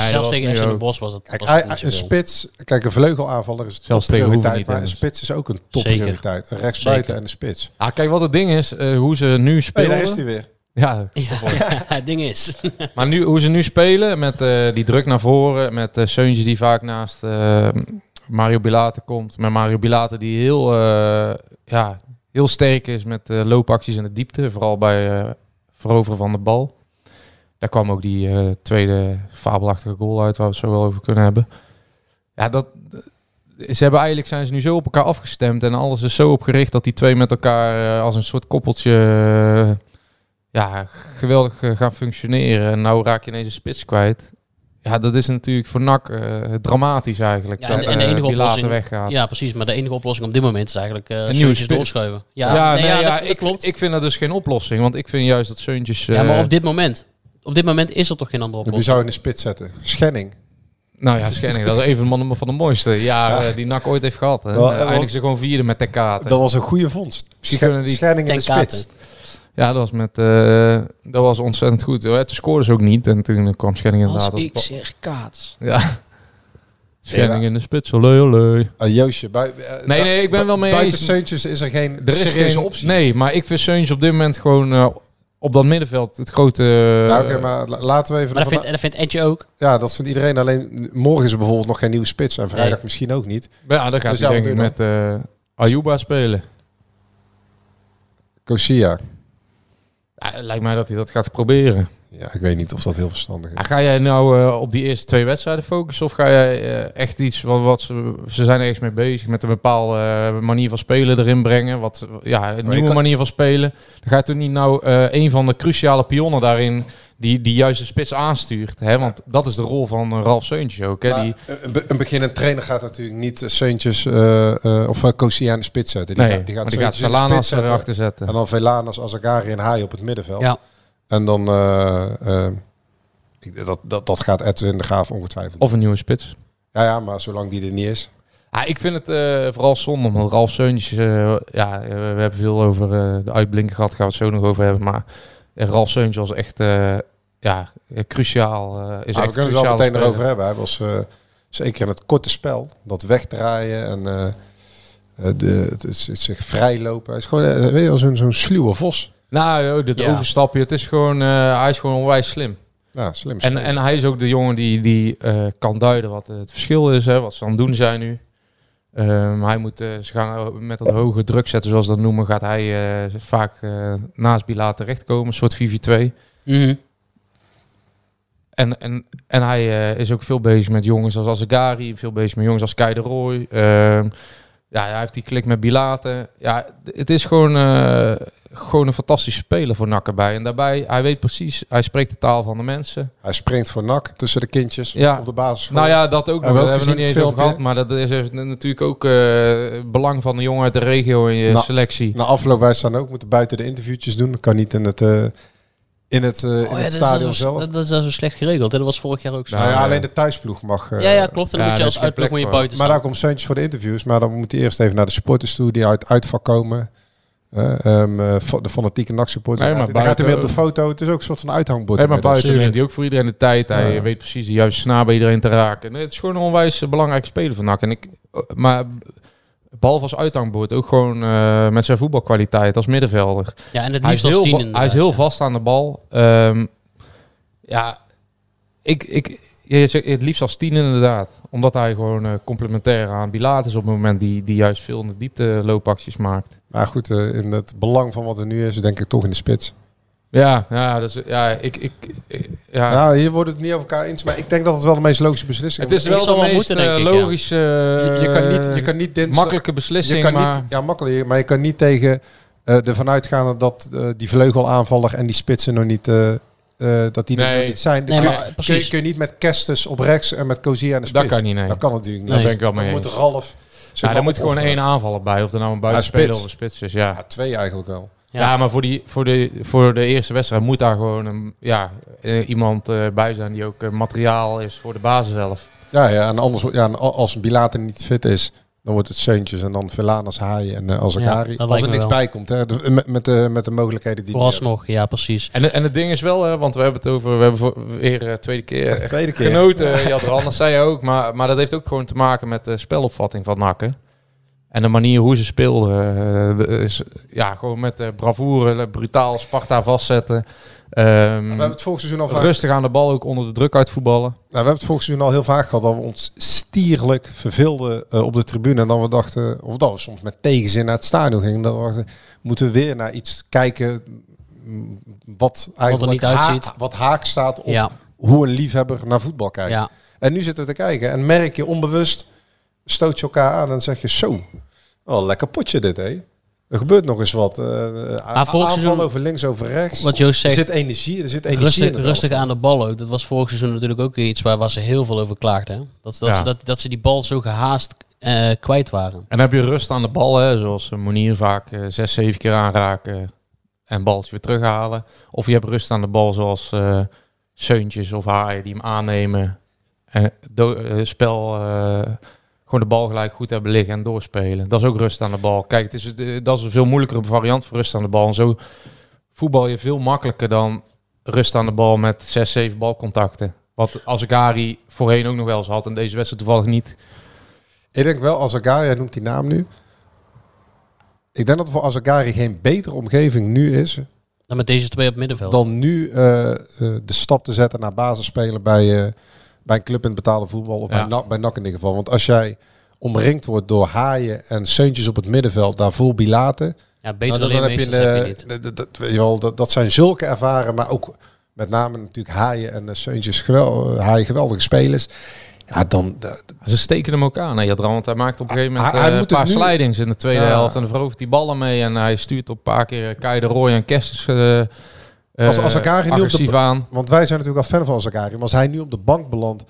Speaker 6: Ja, dat
Speaker 5: zelfs
Speaker 6: was
Speaker 5: tegen
Speaker 6: nu
Speaker 5: FC Den
Speaker 6: ook.
Speaker 5: Bosch was dat.
Speaker 7: Kijk,
Speaker 5: Was dat
Speaker 7: hij-
Speaker 5: niet
Speaker 7: een
Speaker 5: zoveel.
Speaker 7: spits... Kijk, een vleugelaanvaller is
Speaker 6: Zelfs tegen Hoeven niet,
Speaker 7: maar een
Speaker 6: Dennis.
Speaker 7: spits is ook een
Speaker 5: Zeker.
Speaker 7: topprioriteit. Een rechtsbuiten
Speaker 5: Zeker.
Speaker 7: en een spits.
Speaker 6: Ah, kijk, wat het ding is, eh, hoe ze nu
Speaker 7: Hey,
Speaker 6: spelen.
Speaker 7: daar is hij weer.
Speaker 6: ja,
Speaker 5: Ja, het ding is.
Speaker 6: maar nu, hoe ze nu spelen, met eh, die druk naar voren, met eh Seuntjes die vaak naast eh, Mario Bilate komt. Met Mario Bilate die heel, eh, ja, heel sterk is met eh, loopacties in de diepte, vooral bij eh, veroveren van de bal. Daar kwam ook die eh, tweede fabelachtige goal uit, waar we het zo wel over kunnen hebben. Ja, dat, eh, ze hebben eigenlijk zijn ze nu zo op elkaar afgestemd en alles is zo opgericht dat die twee met elkaar eh, als een soort koppeltje eh, ja, geweldig eh, gaan functioneren. En nou raak je ineens een spits kwijt. Ja, dat is natuurlijk voor NAC eh, dramatisch eigenlijk.
Speaker 5: Ja,
Speaker 6: dat,
Speaker 5: en- en de
Speaker 6: eh,
Speaker 5: enige
Speaker 6: Pilate
Speaker 5: oplossing-
Speaker 6: weggaat.
Speaker 5: Ja, precies. Maar de enige oplossing op dit moment is eigenlijk eh
Speaker 6: nieuwe
Speaker 5: Seuntjes
Speaker 6: spits.
Speaker 5: doorschuiven.
Speaker 6: Ja,
Speaker 5: Ja, nee,
Speaker 6: nee,
Speaker 5: ja,
Speaker 6: ja,
Speaker 5: dat- dat
Speaker 6: ik,
Speaker 5: klopt.
Speaker 6: ik vind dat dus geen oplossing. Want ik vind juist dat Seuntjes...
Speaker 5: Ja, maar
Speaker 6: eh,
Speaker 5: op dit moment. Op dit moment is er toch geen andere
Speaker 7: Wie
Speaker 5: oplossing.
Speaker 7: zou je in de spits zetten? Schenning.
Speaker 6: Nou ja, Schenning, dat is even een man van de mooiste jaren eh, die NAC ooit heeft gehad. En
Speaker 7: Wel, eh,
Speaker 6: eigenlijk
Speaker 7: want-
Speaker 6: ze gewoon vierde met de kaart.
Speaker 7: Dat was een goede vondst.
Speaker 6: Misschien kunnen die-
Speaker 7: Schenning in de
Speaker 5: Ten
Speaker 7: spits.
Speaker 5: Katen.
Speaker 6: Ja, dat was, met, eh, dat was ontzettend goed. Eh, Toen scoorde ze ook niet en toen kwam Schenning
Speaker 5: Als
Speaker 6: inderdaad op.
Speaker 5: ik zeg kaats.
Speaker 6: Ja. Schenning in de spits, olé, olé.
Speaker 7: Ah, Joosje, bui- eh,
Speaker 6: Nee, nee, ik ben
Speaker 7: bu-
Speaker 6: wel mee
Speaker 7: Buiten
Speaker 6: eens.
Speaker 7: Seuntjes is er geen
Speaker 6: Er is
Speaker 7: serieuze
Speaker 6: geen
Speaker 7: optie.
Speaker 6: Nee, maar ik vind Seuntjes op dit moment gewoon eh, op dat middenveld het grote...
Speaker 7: Nou, oké, maar la- laten we even...
Speaker 5: Maar dat
Speaker 7: ervan-
Speaker 5: vindt, dat vindt Edje ook.
Speaker 7: Ja, dat vindt iedereen. Alleen morgen is er bijvoorbeeld nog geen nieuwe spits. En vrijdag
Speaker 5: Nee.
Speaker 7: misschien ook niet.
Speaker 6: eh, Ja, dan gaat
Speaker 7: Dus
Speaker 6: hij
Speaker 7: ja,
Speaker 6: denk ik
Speaker 7: wat
Speaker 6: met eh Ayuba spelen.
Speaker 7: Kosia.
Speaker 6: Ja, lijkt mij dat hij dat gaat proberen.
Speaker 7: Ja, ik weet niet of dat heel verstandig is.
Speaker 6: Ja, ga jij nou eh, op die eerste twee wedstrijden focussen? Of ga jij eh, echt iets wat, wat ze, ze zijn ergens mee bezig met een bepaalde eh, manier van spelen erin brengen? Wat, ja, een
Speaker 7: je
Speaker 6: nieuwe
Speaker 7: kan-
Speaker 6: manier van spelen. Dan ga je toen niet nou eh, een van de cruciale pionnen daarin die, die juist de spits aanstuurt. Hè? Want dat is de rol van eh, Ralf Seuntjes ook. Hè?
Speaker 7: Maar
Speaker 6: die,
Speaker 7: een, be- een beginnend trainer gaat natuurlijk niet eh, Seuntjes eh, eh, of uh, Kosiaan de spits zetten. Die
Speaker 6: nee,
Speaker 7: gaat, die gaat,
Speaker 6: maar die gaat
Speaker 7: Seuntjes in de
Speaker 6: Salanas
Speaker 7: spits zetten.
Speaker 6: erachter zetten.
Speaker 7: En dan Velanas, Azagari en Haai op het middenveld.
Speaker 5: Ja.
Speaker 7: En dan, eh, eh, ik- dat, dat, dat gaat Edwin de Graaf ongetwijfeld.
Speaker 6: Of een nieuwe spits.
Speaker 7: Ja, ja, maar zolang die er niet is.
Speaker 6: Ja, ik vind het eh, vooral zonde, omdat Ralf Seuntjes... eh, ja, eh, we hebben veel over eh, de uitblinker gehad, gaan we het zo nog over hebben. Maar eh, Ralf Seuntjes was echt eh, ja, eh, cruciaal. eh, is
Speaker 7: Maar
Speaker 6: echt
Speaker 7: Nou, we kunnen het wel
Speaker 6: cruciaal
Speaker 7: meteen erover hebben. Hij was eh, zeker in het korte spel, dat wegdraaien en eh, eh, de, het, is- het zich vrijlopen. Hij is gewoon eh, weet je, wel, zo'n zo'n sluwe vos.
Speaker 6: Nou, joh, dit
Speaker 5: Ja.
Speaker 6: overstapje, het is gewoon, eh, hij is gewoon onwijs slim.
Speaker 7: Ja, slim.
Speaker 6: En,
Speaker 7: speler.
Speaker 6: en hij is ook de jongen die, die eh, kan duiden wat het verschil is, hè, wat ze aan het doen zijn nu. Ehm, hij moet eh, ze gaan met dat hoge druk zetten, zoals ze dat noemen, gaat hij eh, vaak eh, naast Bila terechtkomen, een soort 4v2.
Speaker 5: Mhm.
Speaker 6: En, en, en hij eh, is ook veel bezig met jongens als Azegari, veel bezig met jongens als Kai de Roy. Ehm, ja, hij heeft die klik met Bilaten. Ja, d- het is gewoon, eh, gewoon een fantastische speler voor NAC erbij. En daarbij, hij weet precies, hij spreekt de taal van de mensen.
Speaker 7: Hij springt voor nak tussen de kindjes
Speaker 6: Ja.
Speaker 7: op de basis.
Speaker 6: Nou ja, dat ook nog.
Speaker 7: Hebben
Speaker 6: Daar
Speaker 7: we ook
Speaker 6: hebben we nog
Speaker 7: gezien
Speaker 6: niet eens
Speaker 7: het
Speaker 6: over gehad. Maar dat is eh, natuurlijk ook eh, belang van de jongen uit de regio in je
Speaker 7: Nou,
Speaker 6: selectie.
Speaker 7: Na afloop wij staan ook moeten buiten de interviewtjes doen. Dat kan niet in het, eh, in het, eh, in
Speaker 5: Oh ja,
Speaker 7: het
Speaker 5: dat is
Speaker 7: stadion
Speaker 5: dan zo-
Speaker 7: zelf.
Speaker 5: Dat, dat is dan zo slecht geregeld. hè. Dat was vorig jaar ook zo.
Speaker 7: Nou ja,
Speaker 6: Ah, Ja,
Speaker 7: alleen de thuisploeg mag. eh,
Speaker 5: ja, ja, klopt. En dan
Speaker 6: ja,
Speaker 5: moet je
Speaker 6: daar is
Speaker 5: als
Speaker 6: geen
Speaker 5: uitleg moet je
Speaker 6: plek voor.
Speaker 5: buiten
Speaker 7: Maar daar
Speaker 5: staan.
Speaker 7: komt Seuntjes voor de interviews. Maar dan moet hij eerst even naar de supporters toe die uit uitvak komen. Eh, ehm, eh, fa- de fanatieke NAC-supporters.
Speaker 6: Nee, maar
Speaker 7: dan gaat hij weer op de
Speaker 6: buiten-
Speaker 7: foto. Het is ook een soort van uithangbord.
Speaker 6: Nee, maar
Speaker 7: inmiddels.
Speaker 6: buiten neemt hij ook voor iedereen de tijd. Hij
Speaker 7: Ja.
Speaker 6: weet precies de juiste snaar bij iedereen te raken. Nee, het is gewoon een onwijs eh, belangrijke speler van NAC. En ik, eh, maar behalve als uithangbord, ook gewoon eh, met zijn voetbalkwaliteit als middenvelder.
Speaker 5: Ja, en het
Speaker 6: Hij is,
Speaker 5: liefst als
Speaker 6: heel,
Speaker 5: tien
Speaker 6: va-
Speaker 5: inderdaad,
Speaker 6: hij is heel
Speaker 5: ja.
Speaker 6: vast aan de bal. Ehm, ja, ik, ik, je zegt het liefst als tien inderdaad. Omdat hij gewoon eh, complementair aan Bilaat is op het moment die, die juist veel in de diepte loopacties maakt.
Speaker 7: Maar goed, eh, in het belang van wat er nu is, denk ik toch in de spits.
Speaker 6: Ja, ja, dus, ja, ik, ik, ik- ja.
Speaker 7: Ja, hier wordt het niet over elkaar eens. Maar ik denk dat het wel de meest logische beslissing
Speaker 6: Het is
Speaker 5: Ik
Speaker 6: wel
Speaker 5: zal
Speaker 6: de
Speaker 5: wel
Speaker 6: meest
Speaker 5: moeten, denk
Speaker 6: eh,
Speaker 5: ik, ja.
Speaker 6: logische, eh,
Speaker 7: Je, je kan niet, je kan niet dinsdag-
Speaker 6: makkelijke beslissing,
Speaker 7: je kan
Speaker 6: maar
Speaker 7: niet, ja, makkelijk, maar je kan niet tegen eh ervan uitgaan dat eh, die vleugelaanvaller en die spitsen nog niet, eh, eh, dat die er
Speaker 6: Nee.
Speaker 7: nog niet zijn.
Speaker 5: Nee,
Speaker 7: kun,
Speaker 5: maar
Speaker 7: kun, je,
Speaker 5: precies.
Speaker 7: kun je niet met Kerstens op rechts en met Cosia aan de
Speaker 6: Dat
Speaker 7: spits.
Speaker 6: kan niet, nee.
Speaker 7: Dat kan natuurlijk niet.
Speaker 6: daar
Speaker 5: Nee.
Speaker 6: ben ik wel
Speaker 7: Dan
Speaker 6: mee
Speaker 7: moet
Speaker 6: eens.
Speaker 7: Ralf...
Speaker 6: Ja, daar moet gewoon één aanvaller bij, of er nou een buitenspeler
Speaker 7: Ja,
Speaker 6: of
Speaker 7: spits.
Speaker 6: een spits is. Ja.
Speaker 7: Ja, twee eigenlijk wel.
Speaker 6: Ja. maar voor, die, voor, de, voor de eerste wedstrijd moet daar gewoon een, ja, eh, iemand eh, bij zijn die ook eh, materiaal is voor de basis zelf.
Speaker 7: Ja, ja en anders, ja, en al- als een Bilater niet fit is, dan wordt het Seuntjes en dan Velanas, Haaien en eh Azagari.
Speaker 5: Ja, dat
Speaker 7: als
Speaker 5: lijkt
Speaker 7: er
Speaker 5: me
Speaker 7: niks
Speaker 5: wel.
Speaker 7: bij komt, hè, de- met, met, de, met de mogelijkheden die die hebben.
Speaker 5: Vooralsnog, ja, precies.
Speaker 6: En, en het ding is wel, hè, want we hebben het over, we hebben voor, weer eh, tweede keer eh,
Speaker 7: Tweede keer.
Speaker 6: genoten, eh, Jadran, dat zei je ook. Maar, maar dat heeft ook gewoon te maken met de spelopvatting van Nakken. En de manier hoe ze speelden. eh, de- is, ja, gewoon met eh, bravoure, eh, brutaal Sparta vastzetten. Ehm,
Speaker 7: We hebben het vorig seizoen al vaak
Speaker 6: rustig aan de bal, ook onder de druk uitvoetballen.
Speaker 7: Nou, we hebben het vorig seizoen al heel vaak gehad dat we ons stierlijk verveelden eh, op de tribune. En dan we dachten, of dat we soms met tegenzin naar het stadion gingen. Dan dachten, we, moeten we weer naar iets kijken mm, wat eigenlijk
Speaker 5: niet
Speaker 7: haak-
Speaker 5: uitziet.
Speaker 7: wat haak staat op
Speaker 5: Ja,
Speaker 7: hoe een liefhebber naar voetbal kijkt.
Speaker 5: ja.
Speaker 7: En nu zitten we te kijken en merk je onbewust, stoot je elkaar aan en zeg je zo, wel een lekker potje dit hé. Er gebeurt nog eens wat. eh aanval
Speaker 5: seizoen-
Speaker 7: over links, over rechts.
Speaker 5: Wat Joost
Speaker 7: er
Speaker 5: zegt,
Speaker 7: zit energie, er zit energie in
Speaker 5: rustig,
Speaker 7: het
Speaker 5: rustig
Speaker 7: elftal.
Speaker 5: aan de bal ook. Dat was vorig seizoen natuurlijk ook iets waar, waar ze heel veel over klaagden. Hè? Dat, dat,
Speaker 6: Ja.
Speaker 5: ze, dat, dat ze die bal zo gehaast eh, kwijt waren.
Speaker 6: En dan heb je rust aan de bal, hè, zoals eh, Monier vaak eh, zes, zeven keer aanraken en baltje weer terughalen. Of je hebt rust aan de bal, zoals eh, Seuntjes of Haaien die hem aannemen. En do- eh, spel, eh, gewoon de bal gelijk goed hebben liggen en doorspelen. Dat is ook rust aan de bal. Kijk, het is, het, eh, dat is een veel moeilijkere variant voor rust aan de bal. En zo voetbal je veel makkelijker dan rust aan de bal met zes, zeven balcontacten. Wat Azekari voorheen ook nog wel eens had en deze wedstrijd toevallig niet.
Speaker 7: Ik denk wel, Azagari, jij noemt die naam nu. Ik denk dat er voor Azagari geen betere omgeving nu is
Speaker 5: Dan met deze twee op het middenveld.
Speaker 7: dan nu eh, eh, de stap te zetten naar basisspelen bij, eh, bij een club in het betaalde voetbal. Of
Speaker 6: Ja.
Speaker 7: bij, NAC, bij NAC in ieder geval. Want als jij omringd wordt door haaien en seuntjes op het middenveld, daarvoor bilaten.
Speaker 5: ja,
Speaker 7: nou,
Speaker 5: beter
Speaker 7: dan,
Speaker 5: dan,
Speaker 7: dan heb je,
Speaker 5: heb je
Speaker 7: een,
Speaker 5: niet.
Speaker 7: eh, dat, dat, weet je wel, dat, dat zijn zulke ervaren, maar ook Met name natuurlijk Haaien en uh, Seuntjes, gewel, Haaien geweldige spelers. Ja, dan, de-
Speaker 6: Ze steken hem ook aan, hè, Jadran. Want hij maakt op een gegeven moment
Speaker 7: Hij- hij
Speaker 6: eh, een
Speaker 7: moet het
Speaker 6: paar
Speaker 7: nu-
Speaker 6: slidings in de tweede
Speaker 7: Ja.
Speaker 6: helft. En dan verovert hij ballen mee. En hij stuurt op een paar keer eh, Kai de Roy en Kerstens eh, eh,
Speaker 7: Als- als elkaar nu op de-
Speaker 6: agressief aan.
Speaker 7: Want wij zijn natuurlijk al fan van Zakari. Maar als hij nu op de bank belandt,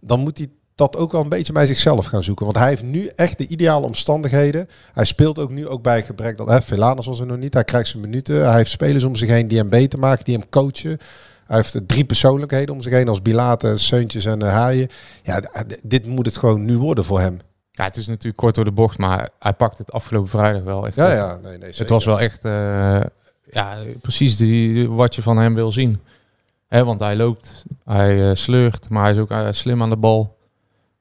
Speaker 7: dan moet hij dat ook wel een beetje bij zichzelf gaan zoeken. Want hij heeft nu echt de ideale omstandigheden. Hij speelt ook nu ook bij gebrek dat... Hè, Velanus was er nog niet. Hij krijgt zijn minuten. Hij heeft spelers om zich heen die hem beter maken, die hem coachen. Hij heeft eh, drie persoonlijkheden om zich heen. Als Bilate, Seuntjes en eh, Haaien. Ja, d- d- dit moet het gewoon nu worden voor hem.
Speaker 6: Ja, het is natuurlijk kort door de bocht, maar hij pakt het afgelopen vrijdag wel echt. eh,
Speaker 7: Ja,
Speaker 6: op.
Speaker 7: ja. Nee, nee, zeker.
Speaker 6: Dus Het was wel echt eh, ja, precies die, wat je van hem wil zien. Hè, want hij loopt, hij eh, sleurt, maar hij is ook eh, slim aan de bal.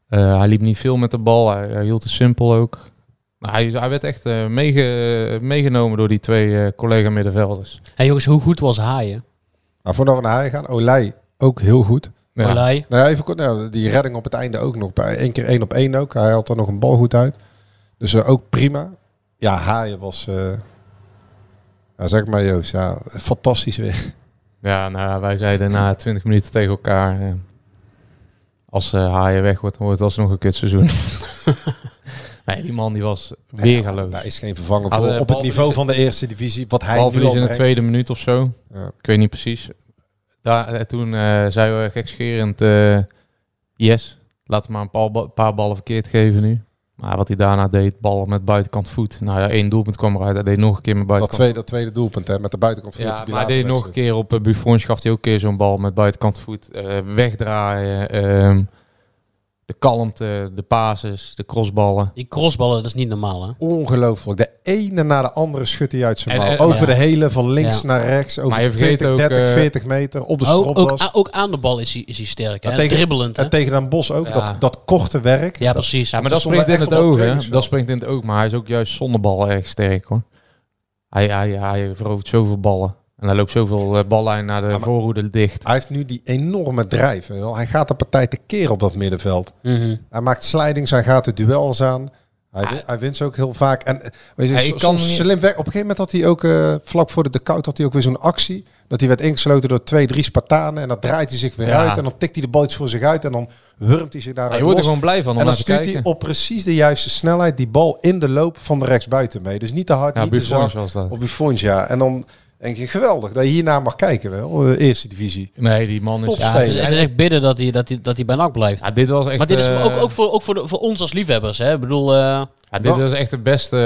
Speaker 6: Eh, hij liep niet veel met de bal, hij, hij hield het simpel ook. Maar hij, hij werd echt eh, meege- meegenomen door die twee eh, collega middenvelders.
Speaker 5: Hey jongens, hoe goed was Haaien?
Speaker 7: Maar voordat we naar Haaien gaan, Olij ook heel goed.
Speaker 6: Ja.
Speaker 5: Olij.
Speaker 7: Nou ja, even kort. Nou, die redding op het einde ook nog. Bij één keer één op één ook. Hij had er nog een bal goed uit. Dus eh, ook prima. Ja, Haaien was... eh, ja, zeg maar Joost. Ja, fantastisch weer.
Speaker 6: Ja, nou, wij zeiden na 20 minuten tegen elkaar. eh, als eh Haaien weg wordt, dan wordt het alsnog een kutseizoen. nee, die man die was weergaloos.
Speaker 7: Daar is geen vervanger
Speaker 6: Hadden,
Speaker 7: voor.
Speaker 6: eh,
Speaker 7: Op het
Speaker 6: balverlies-
Speaker 7: niveau van de eerste divisie. Wat hij nu al
Speaker 6: Balverlies in de
Speaker 7: brengt.
Speaker 6: tweede minuut of zo.
Speaker 7: Ja.
Speaker 6: Ik weet niet precies. Daar, eh, toen eh zei we gekscherend... eh, yes, laten we maar een paar, ba- paar ballen verkeerd geven nu. Maar wat hij daarna deed, ballen met buitenkant voet. Nou ja, één doelpunt kwam eruit. Hij deed nog een keer met
Speaker 7: Dat
Speaker 6: buitenkant
Speaker 7: tweede, dat tweede doelpunt hè, met de buitenkant van
Speaker 6: ja,
Speaker 7: de
Speaker 6: maar hij
Speaker 7: Bilate
Speaker 6: deed nog een
Speaker 7: wedstrijd.
Speaker 6: keer op eh, Buffon, gaf hij ook een keer zo'n bal met buitenkant voet. eh, wegdraaien, ehm, de kalmte, de pases, de crossballen.
Speaker 5: Die crossballen, dat is niet normaal hè?
Speaker 7: Ongelooflijk. De ene na de andere schudt hij uit zijn
Speaker 6: En-
Speaker 7: mouw.
Speaker 6: en-
Speaker 7: Over
Speaker 5: ja.
Speaker 7: de hele, van links
Speaker 5: Ja.
Speaker 7: naar rechts.
Speaker 6: Maar je
Speaker 7: Over
Speaker 6: vergeet
Speaker 7: 20, 30,
Speaker 6: ook, eh,
Speaker 7: 40 meter. Op de
Speaker 5: Oh, Ook, ook,
Speaker 7: stropdas.
Speaker 5: a- ook aan de bal is hij, is hij sterk hè?
Speaker 7: Ja, tegen-
Speaker 5: Dribbelend hè?
Speaker 7: en tegen Dan Bos ook.
Speaker 6: Ja.
Speaker 7: Dat, dat korte werk.
Speaker 5: Ja,
Speaker 7: dat-
Speaker 5: precies.
Speaker 6: Ja, maar dat,
Speaker 7: dat
Speaker 6: springt
Speaker 7: stond
Speaker 6: in het
Speaker 7: echt op dat
Speaker 6: oog, hè?
Speaker 7: trainingsveld.
Speaker 6: Dat springt in het oog, maar hij is ook juist zonder bal erg sterk, hoor. Hij, hij, hij verovert zoveel ballen. En hij loopt zoveel eh, ballijn naar de
Speaker 7: maar-
Speaker 6: voorhoede dicht.
Speaker 7: Hij heeft nu die enorme drijf. weet je wel. Hij gaat de partij te keer op dat middenveld.
Speaker 5: Mhm.
Speaker 7: Hij maakt slidings, hij gaat de duels aan. Hij, win- hij wint ze ook heel vaak. En eh, weet je,
Speaker 6: Ah. Hij
Speaker 7: so-
Speaker 6: kan
Speaker 7: soms
Speaker 6: niet-
Speaker 7: slim weg. Op een gegeven moment had hij ook eh, vlak voor de, de koud had hij ook weer zo'n actie. Dat hij werd ingesloten door twee, drie Spartanen. En dan draait hij zich weer
Speaker 6: Ja.
Speaker 7: uit. En dan tikt hij de bal iets voor zich uit. En dan hurmt hij
Speaker 6: Ja,
Speaker 7: zich daaruit
Speaker 6: je wordt er
Speaker 7: los.
Speaker 6: gewoon blij van om
Speaker 7: En dan
Speaker 6: naar te
Speaker 7: stuurt hij
Speaker 6: kijken.
Speaker 7: op precies de juiste snelheid die bal in de loop van de rechtsbuiten mee. Dus niet te hard,
Speaker 6: Ja,
Speaker 7: niet te
Speaker 6: Buffon
Speaker 7: zacht.
Speaker 6: was dat.
Speaker 7: Op Buffon, ja. En dan denk je, geweldig dat je hierna mag kijken wel. eh, eerste divisie.
Speaker 6: Nee, die man is...
Speaker 7: Topspeler.
Speaker 5: Ja, het, is, het is echt bidden dat hij, dat hij, dat hij bij NAC blijft.
Speaker 6: Ja, dit was echt...
Speaker 5: maar dit is
Speaker 6: eh,
Speaker 5: ook, ook, voor, ook voor, de- voor ons als liefhebbers hè? Ik bedoel, eh,
Speaker 6: Ja, dit was echt de beste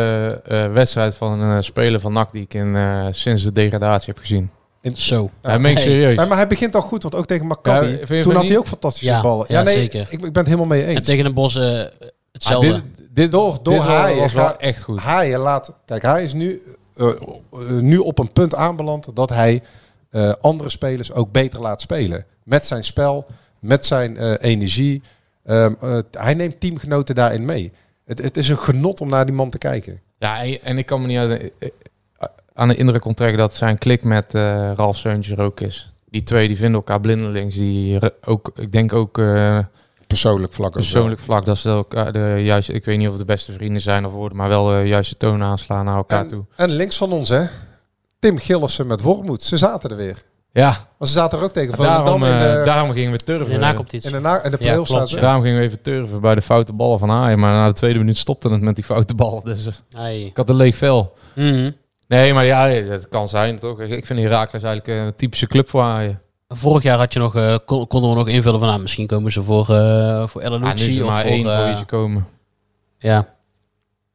Speaker 6: eh, eh, wedstrijd van een eh, speler van NAC die ik in, eh, sinds de degradatie heb gezien.
Speaker 5: zo.
Speaker 6: Ja, meen ik
Speaker 5: Hey.
Speaker 6: serieus. Ah,
Speaker 7: Ja, maar hij begint al goed, want ook tegen Maccabi.
Speaker 6: Ja, vind je
Speaker 7: toen
Speaker 6: van
Speaker 7: had hij
Speaker 6: niet?
Speaker 7: ook fantastische
Speaker 5: Ja,
Speaker 7: ballen.
Speaker 5: ja, zeker.
Speaker 7: Ik, ik ben het helemaal mee eens.
Speaker 5: En tegen een bos eh,
Speaker 6: Ah,
Speaker 5: hetzelfde.
Speaker 6: dit, dit,
Speaker 7: Door- door
Speaker 6: dit was-
Speaker 7: Haaien
Speaker 6: was wel
Speaker 7: gaat-
Speaker 6: echt goed.
Speaker 7: Haaien laat. Kijk, hij is nu, eh, eh, nu op een punt aanbeland dat hij eh, andere spelers ook beter laat spelen. Met zijn spel, met zijn eh, energie. Ehm, eh, hij neemt teamgenoten daarin mee. Het, het is een genot om naar die man te kijken.
Speaker 6: Ja, en- en ik kan me niet aan de, eh, aan de indruk onttrekken dat zijn klik met eh, Ralf Seuntjes er ook is. Die twee die vinden elkaar blindelings. Die re- ook, ik denk ook eh,
Speaker 7: Persoonlijk vlak. als wel.
Speaker 6: persoonlijk vlak dat ze elkaar de juiste, ik weet niet of het de beste vrienden zijn of worden, maar wel de juiste toon aanslaan naar elkaar toe.
Speaker 7: En, en links van ons, hè? Tim Gillissen met Wormoed. Ze zaten er weer.
Speaker 6: Ja,
Speaker 7: Want ze zaten er ook tegen
Speaker 6: daarom,
Speaker 7: Volendam in
Speaker 6: eh,
Speaker 7: de,
Speaker 6: daarom gingen we turven.
Speaker 5: Daarna komt
Speaker 7: in
Speaker 5: iets.
Speaker 7: de, na- in de play-offs.
Speaker 5: klopt,
Speaker 7: zaten ze.
Speaker 6: Daarom gingen we even turven bij de foute ballen van Haaien. Maar na de tweede minuut stopte het met die foute bal. Dus eh,
Speaker 5: Hey.
Speaker 6: ik had een leeg vel.
Speaker 5: Mhm.
Speaker 6: Nee, maar ja, het kan zijn toch. Ik ik vind Herakles eigenlijk een typische club voor Haaien.
Speaker 5: Vorig jaar had je nog, eh, kon- konden we nog invullen van, nou, misschien komen ze voor, eh voor El
Speaker 6: Ja, Ah, nu is
Speaker 5: Alouci
Speaker 6: er
Speaker 5: of
Speaker 6: maar
Speaker 5: voor...
Speaker 6: één
Speaker 5: eh,
Speaker 6: voor wie ze komen.
Speaker 5: ja.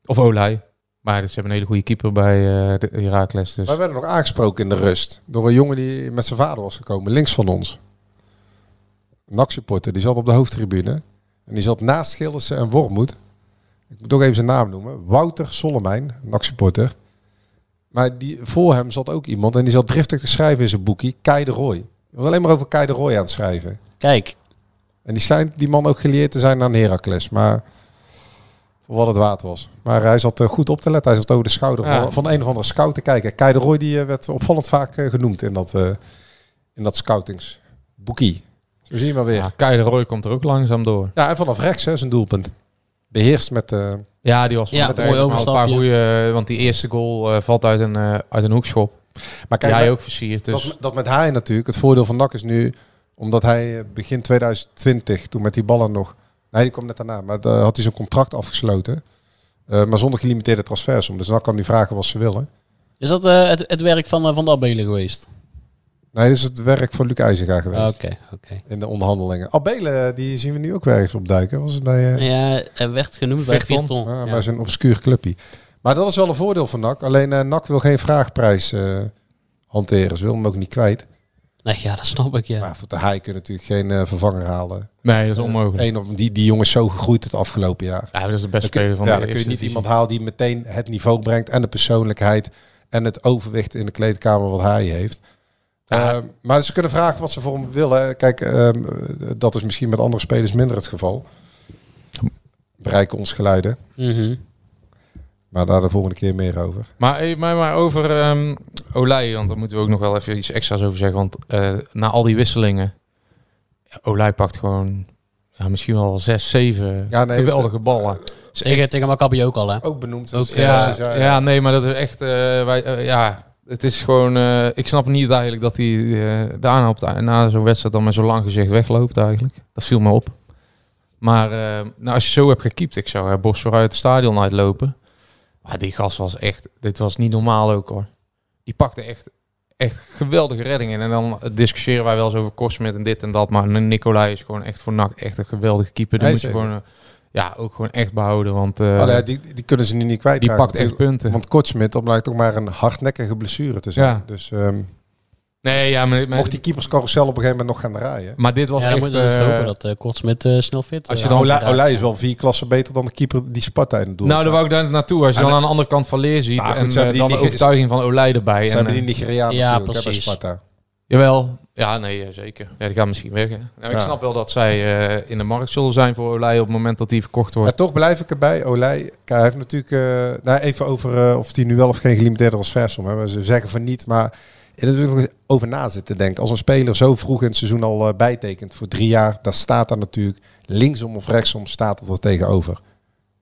Speaker 6: Of Olij. Maar ze hebben een hele goede keeper bij eh de Herakles. Dus.
Speaker 7: Wij werden nog aangesproken in de rust door een jongen die met zijn vader was gekomen, links van ons. Een supporter die zat op de hoofdtribune. En die zat naast Schildersen en Wormoed. Ik moet ook even zijn naam noemen. Wouter Sollemijn, een supporter Maar die, voor hem zat ook iemand en die zat driftig te schrijven in zijn boekie, Kai de Roy. Hij was alleen maar over Kai de Roy aan het schrijven.
Speaker 5: Kijk,
Speaker 7: En die schijnt die man ook gelieerd te zijn aan Heracles. Maar voor wat het waard was. Maar hij zat eh, goed op te letten. Hij zat over de schouder
Speaker 6: Ja.
Speaker 7: van, van een of andere scout te kijken. Kai de Roy die eh, werd opvallend vaak eh, genoemd in dat, eh, in dat scoutingsboekie. Zo zie je maar weer.
Speaker 6: ja,
Speaker 7: Ja.
Speaker 6: Kai de Roy komt er ook langzaam door.
Speaker 7: en vanaf rechts hè, zijn doelpunt. Beheerst met... eh,
Speaker 6: Ja, die was
Speaker 5: Ja,
Speaker 6: met
Speaker 5: mooi
Speaker 6: een- maar een paar
Speaker 5: overstapje.
Speaker 6: goede. Want die eerste goal eh, valt uit een, eh, uit een hoekschop.
Speaker 7: Maar kijk,
Speaker 6: Jij
Speaker 7: bij-
Speaker 6: ook versierd, dus.
Speaker 7: dat, dat met hij natuurlijk. Het voordeel van NAC is nu, omdat hij eh, begin 2020, toen met die ballen nog... Nee, die kwam net daarna, maar daar had hij zijn contract afgesloten. Eh, maar zonder gelimiteerde transfers om. Dus NAC kan nu vragen wat ze willen.
Speaker 5: Is dat eh, het, het werk van, eh, van de Abelen geweest?
Speaker 7: Nee, dit is het werk van Luc IJzega
Speaker 5: Ah, Oké,
Speaker 7: geweest.
Speaker 5: oké.
Speaker 7: In de onderhandelingen. Abelen, die zien we nu ook weer even opduiken. Was het bij... eh,
Speaker 5: Ja, er werd genoemd bij
Speaker 6: Veerton.
Speaker 5: Vierton.
Speaker 7: Ja,
Speaker 5: Ja.
Speaker 7: Maar zo'n obscuur clubje. Maar dat is wel een voordeel van NAC. Alleen eh, NAC wil geen vraagprijs eh, hanteren. Ze wil hem ook niet kwijt.
Speaker 5: Nee, ja, dat snap ik, ja.
Speaker 7: Maar voor de Haai kunnen natuurlijk geen eh, vervanger halen.
Speaker 6: Nee, dat is onmogelijk.
Speaker 7: Eén op die, die jongen is zo gegroeid het afgelopen jaar.
Speaker 6: Ja, dat is de beste
Speaker 7: Dan kun,
Speaker 6: speler van
Speaker 7: ja,
Speaker 6: de
Speaker 7: dan kun je
Speaker 6: eerste
Speaker 7: niet
Speaker 6: divisie.
Speaker 7: iemand halen die meteen het niveau brengt en de persoonlijkheid en het overwicht in de kleedkamer wat hij heeft.
Speaker 6: Ja.
Speaker 7: Ehm, maar ze kunnen vragen wat ze voor hem willen. Kijk, ehm, dat is misschien met andere spelers minder het geval. Bereiken ons geluiden.
Speaker 5: Mhm.
Speaker 7: Maar daar de volgende keer meer over.
Speaker 6: Maar, hey, maar, maar over ehm Olij, want daar moeten we ook nog wel even iets extra's over zeggen. Want eh, na al die wisselingen, ja, Olij pakt gewoon ja, misschien wel zes, zeven
Speaker 7: Ja, nee,
Speaker 6: geweldige ballen. Dus echt- Oh,
Speaker 5: Tegen, tegen Maccabi ook al, hè?
Speaker 7: Ook benoemd.
Speaker 5: Ook,
Speaker 7: Dus,
Speaker 6: ja,
Speaker 7: dus
Speaker 6: ja, nee, maar dat is echt... eh, wij, eh, ja, het is gewoon... eh, ik snap niet eigenlijk dat hij eh, daarna op de- na zo'n wedstrijd dan met zo'n lang gezicht wegloopt eigenlijk. Dat viel me op. Maar eh, nou, als je zo hebt gekiept, ik zou eh, Bos vooruit het stadion uitlopen. Maar die gast was echt... Dit was niet normaal ook hoor. Die pakte echt, echt geweldige reddingen. En dan discussiëren wij wel eens over Korsmet en dit en dat. Maar Nicolai is gewoon echt voor NAC echt een geweldige keeper. Die
Speaker 7: Nee,
Speaker 6: moet je
Speaker 7: zeker.
Speaker 6: gewoon... eh, ja, ook gewoon echt behouden. Want eh,
Speaker 7: Maar ja, die, die kunnen ze nu niet kwijt.
Speaker 6: die pakt echt punten.
Speaker 7: Want Kortsmit, dat blijkt ook maar een hardnekkige blessure te zijn.
Speaker 6: Ja.
Speaker 7: Dus ehm,
Speaker 6: Nee, ja, maar, maar,
Speaker 7: mocht die keeperscarousel op een gegeven moment nog gaan draaien.
Speaker 6: maar dit was
Speaker 5: Ja, dan
Speaker 6: echt...
Speaker 5: moet je dus
Speaker 6: eh,
Speaker 5: hopen dat eh Kortsmit eh, snel fit
Speaker 6: als je
Speaker 5: eh,
Speaker 6: dan
Speaker 7: Olij,
Speaker 5: raakt.
Speaker 7: Olij is wel vier klassen beter dan de keeper die Sparta in het doel
Speaker 6: nou, daar
Speaker 7: had
Speaker 6: wou ik daar naartoe. Als je
Speaker 7: Ah,
Speaker 6: dan
Speaker 7: nee.
Speaker 6: aan de andere kant van leer ziet
Speaker 7: Maar goed,
Speaker 6: en
Speaker 7: ze hebben
Speaker 6: eh,
Speaker 7: die
Speaker 6: dan de
Speaker 7: niet ge-
Speaker 6: overtuiging van Olij erbij.
Speaker 7: Ze
Speaker 6: en,
Speaker 7: hebben
Speaker 6: eh,
Speaker 7: die Nigerianen
Speaker 5: Ja,
Speaker 7: natuurlijk hè, bij
Speaker 5: precies.
Speaker 7: Sparta.
Speaker 6: Jawel. Ja, nee, eh, zeker. Ja, die gaan misschien weg. Hè. Nou, Ik
Speaker 7: Ja.
Speaker 6: snap wel dat zij eh, in de markt zullen zijn voor Olij op het moment dat die verkocht wordt.
Speaker 7: Maar toch blijf ik erbij. Olij, kijk, hij heeft natuurlijk... eh, nou, even over eh, of hij nu wel of geen gelimiteerde transfersom hebben. Ze zeggen van niet, maar... Er is natuurlijk nog eens over na zitten denken. Als een speler zo vroeg in het seizoen al eh, bijtekent voor drie jaar, daar staat daar natuurlijk linksom of rechtsom staat het wel tegenover.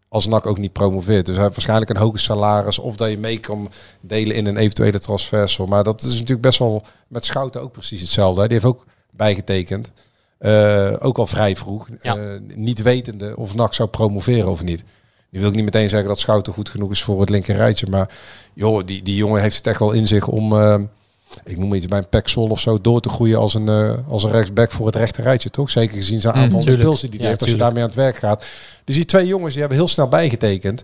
Speaker 7: Als NAC ook niet promoveert. Dus hij heeft waarschijnlijk een hoger salaris of dat je mee kan delen in een eventuele transversal. Maar dat is natuurlijk best wel met Schouten ook precies hetzelfde. hè. Die heeft ook bijgetekend. Eh, ook al vrij vroeg.
Speaker 5: Ja.
Speaker 7: Eh, niet wetende of NAC zou promoveren of niet. Nu wil ik niet meteen zeggen dat Schouten goed genoeg is voor het linker rijtje. Maar joh, die, die jongen heeft het echt wel in zich om... eh, ik noem iets bij een Pexol of zo door te groeien als een, eh, als een rechtsback voor het rechter itje, toch? Zeker gezien zijn
Speaker 6: Mm,
Speaker 7: aanvallende
Speaker 5: tuurlijk.
Speaker 7: impulsen die hij
Speaker 5: Ja,
Speaker 7: heeft als je
Speaker 5: tuurlijk.
Speaker 7: daarmee aan het werk gaat. Dus die twee jongens die hebben heel snel bijgetekend.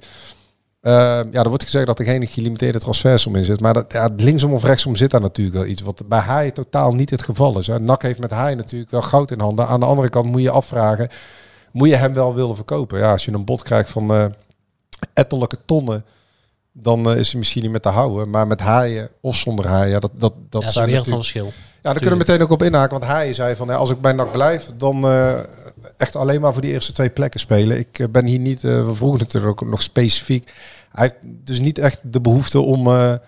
Speaker 7: Eh, ja, er wordt gezegd dat er geen gelimiteerde transfersom in zit. Maar dat, ja, linksom of rechtsom zit daar natuurlijk wel iets. Wat bij Haai totaal niet het geval is. Hè. NAC heeft met Haai natuurlijk wel goud in handen. Aan de andere kant moet je afvragen, moet je hem wel willen verkopen? Ja, als je een bod krijgt van eh ettelijke tonnen, dan eh, is hij misschien niet meer te houden. Maar met haaien of zonder haaien, ja, dat, dat, dat
Speaker 5: Ja, dat is een
Speaker 7: zijn
Speaker 5: wereld van
Speaker 7: natuurlijk...
Speaker 5: verschil.
Speaker 7: Ja, daar kunnen we meteen ook op inhaken. Want hij zei van, ja, als ik bij NAC blijf, dan eh, echt alleen maar voor die eerste twee plekken spelen. Ik eh, ben hier niet, eh, we vroegen natuurlijk ook nog specifiek. Hij heeft dus niet echt de behoefte om... eh, we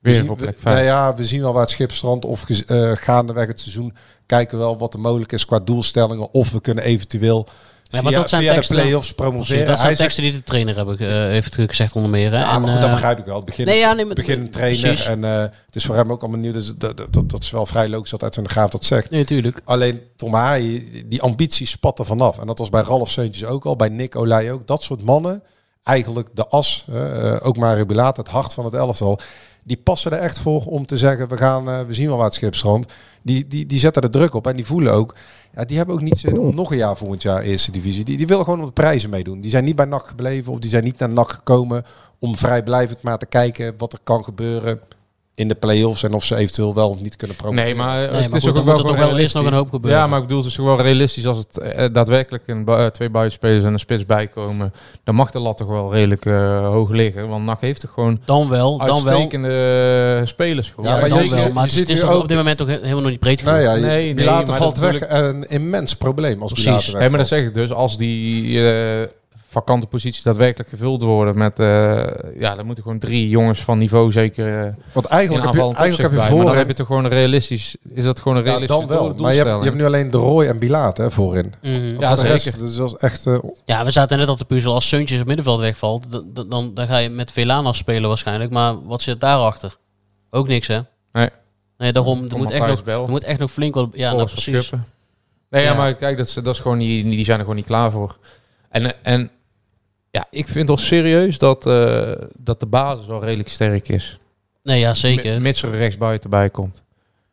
Speaker 6: Weer
Speaker 7: zien-
Speaker 6: voor plek
Speaker 7: we-
Speaker 6: vijf.
Speaker 7: nou ja, we zien wel waar het schip strandt of gez- eh, gaandeweg het seizoen kijken we wel wat er mogelijk is qua doelstellingen. Of we kunnen eventueel
Speaker 5: maar
Speaker 7: via,
Speaker 5: dat zijn
Speaker 7: via de
Speaker 5: teksten-
Speaker 7: play-offs
Speaker 5: Precies,
Speaker 7: promoveren.
Speaker 5: Dus dat zijn
Speaker 7: Hij zegt-
Speaker 5: teksten die de trainer hebben, ge- eh, heeft gezegd onder meer. Hè?
Speaker 7: ja,
Speaker 5: En,
Speaker 7: maar goed, dat
Speaker 5: eh,
Speaker 7: begrijp ik wel. Het Begin,
Speaker 5: nee, ja, nee, maar-
Speaker 7: begin trainer
Speaker 5: precies.
Speaker 7: en eh, het is voor hem ook allemaal nieuw. Dus dat, dat, dat, dat is wel vrij logisch dat uit zijn graaf dat zegt.
Speaker 5: Nee, natuurlijk.
Speaker 7: Alleen Tom Haaien, die ambitie spat er vanaf. En dat was bij Ralf Seuntjes ook al, bij Nick Olij ook. Dat soort mannen, eigenlijk de as, eh, eh, ook Mario Bilaat, het hart van het elftal. Die passen er echt voor om te zeggen, we, gaan, eh, we zien wel waar het schip strandt. Die, die, die zetten er druk op en die voelen ook... Ja, die hebben ook niet zin om nog een jaar volgend jaar eerste divisie. Die, die willen gewoon om de prijzen meedoen. Die zijn niet bij NAC gebleven of die zijn niet naar NAC gekomen... om vrijblijvend maar te kijken wat er kan gebeuren in de play-offs... en of ze eventueel wel of niet kunnen promoveren.
Speaker 6: Nee, maar eh,
Speaker 5: Nee, maar
Speaker 6: het is
Speaker 5: goed,
Speaker 6: ook
Speaker 5: dan
Speaker 6: wel,
Speaker 5: moet er
Speaker 6: gewoon
Speaker 5: toch wel eerst
Speaker 6: realistisch.
Speaker 5: nog een hoop gebeuren.
Speaker 6: Ja, maar ik bedoel, het is gewoon realistisch als het eh, daadwerkelijk een, bu- eh, twee buitenspelers en een spits bijkomen. Dan mag de lat toch wel redelijk eh, hoog liggen. Want NAC heeft toch gewoon
Speaker 5: Dan wel, dan wel.
Speaker 6: uitstekende eh, spelers. gewoon.
Speaker 5: Ja,
Speaker 7: maar
Speaker 5: dan
Speaker 7: je-
Speaker 5: wel.
Speaker 7: je
Speaker 5: Maar het is-
Speaker 7: ziet
Speaker 5: het is
Speaker 7: nu
Speaker 5: nog
Speaker 7: ook-
Speaker 5: op dit moment toch he- helemaal nog niet breed genoeg.
Speaker 7: Nou ja,
Speaker 6: Nee, nee,
Speaker 7: nee, Bilater
Speaker 6: maar
Speaker 7: valt
Speaker 6: dat
Speaker 7: weg.
Speaker 6: bedoel
Speaker 7: Een immens probleem als
Speaker 5: Precies.
Speaker 6: Hé,
Speaker 7: Bilater
Speaker 6: maar dat
Speaker 7: wegvalt.
Speaker 6: zeg ik dus. Als die eh, vakante posities daadwerkelijk gevuld worden met... eh, ja, dan moeten gewoon drie jongens van niveau zeker eh,
Speaker 7: Want
Speaker 6: in
Speaker 7: eigenlijk heb
Speaker 6: aanvallend
Speaker 7: je,
Speaker 6: opzicht
Speaker 7: eigenlijk
Speaker 6: bij.
Speaker 7: heb je
Speaker 6: Maar
Speaker 7: voor
Speaker 6: dan heb je toch gewoon een realistisch... Is dat gewoon een
Speaker 7: ja,
Speaker 6: realistische
Speaker 7: dan wel.
Speaker 6: doel-
Speaker 7: Maar je hebt, je
Speaker 6: doelstelling?
Speaker 7: hebt nu alleen de Roy en Bilater hè, voorin.
Speaker 5: Mhm.
Speaker 6: Ja,
Speaker 7: Voor de rest,
Speaker 6: zeker.
Speaker 7: Dus dat is echt... eh,
Speaker 5: Ja, we zaten net op de puzzel. Als Suntjes op middenveld wegvalt, dan, dan, dan ga je met Velana spelen waarschijnlijk. Maar wat zit daarachter? Ook niks, hè?
Speaker 6: Nee.
Speaker 5: Nee, daarom. Er
Speaker 6: Van
Speaker 5: moet, echt
Speaker 6: Matthijs
Speaker 5: nog,
Speaker 6: Bel.
Speaker 5: er moet echt nog flink wat... Ja, nou,
Speaker 6: Boris van
Speaker 5: precies.
Speaker 6: Schuppen. Nee, ja.
Speaker 5: Ja.
Speaker 6: maar kijk, dat, is- dat is gewoon niet, die zijn er gewoon niet klaar voor. En, en ja, ik vind wel serieus dat, eh, dat de basis wel redelijk sterk is.
Speaker 5: Nee, ja, zeker.
Speaker 6: Mi- Mits er rechtsbuiten bij komt.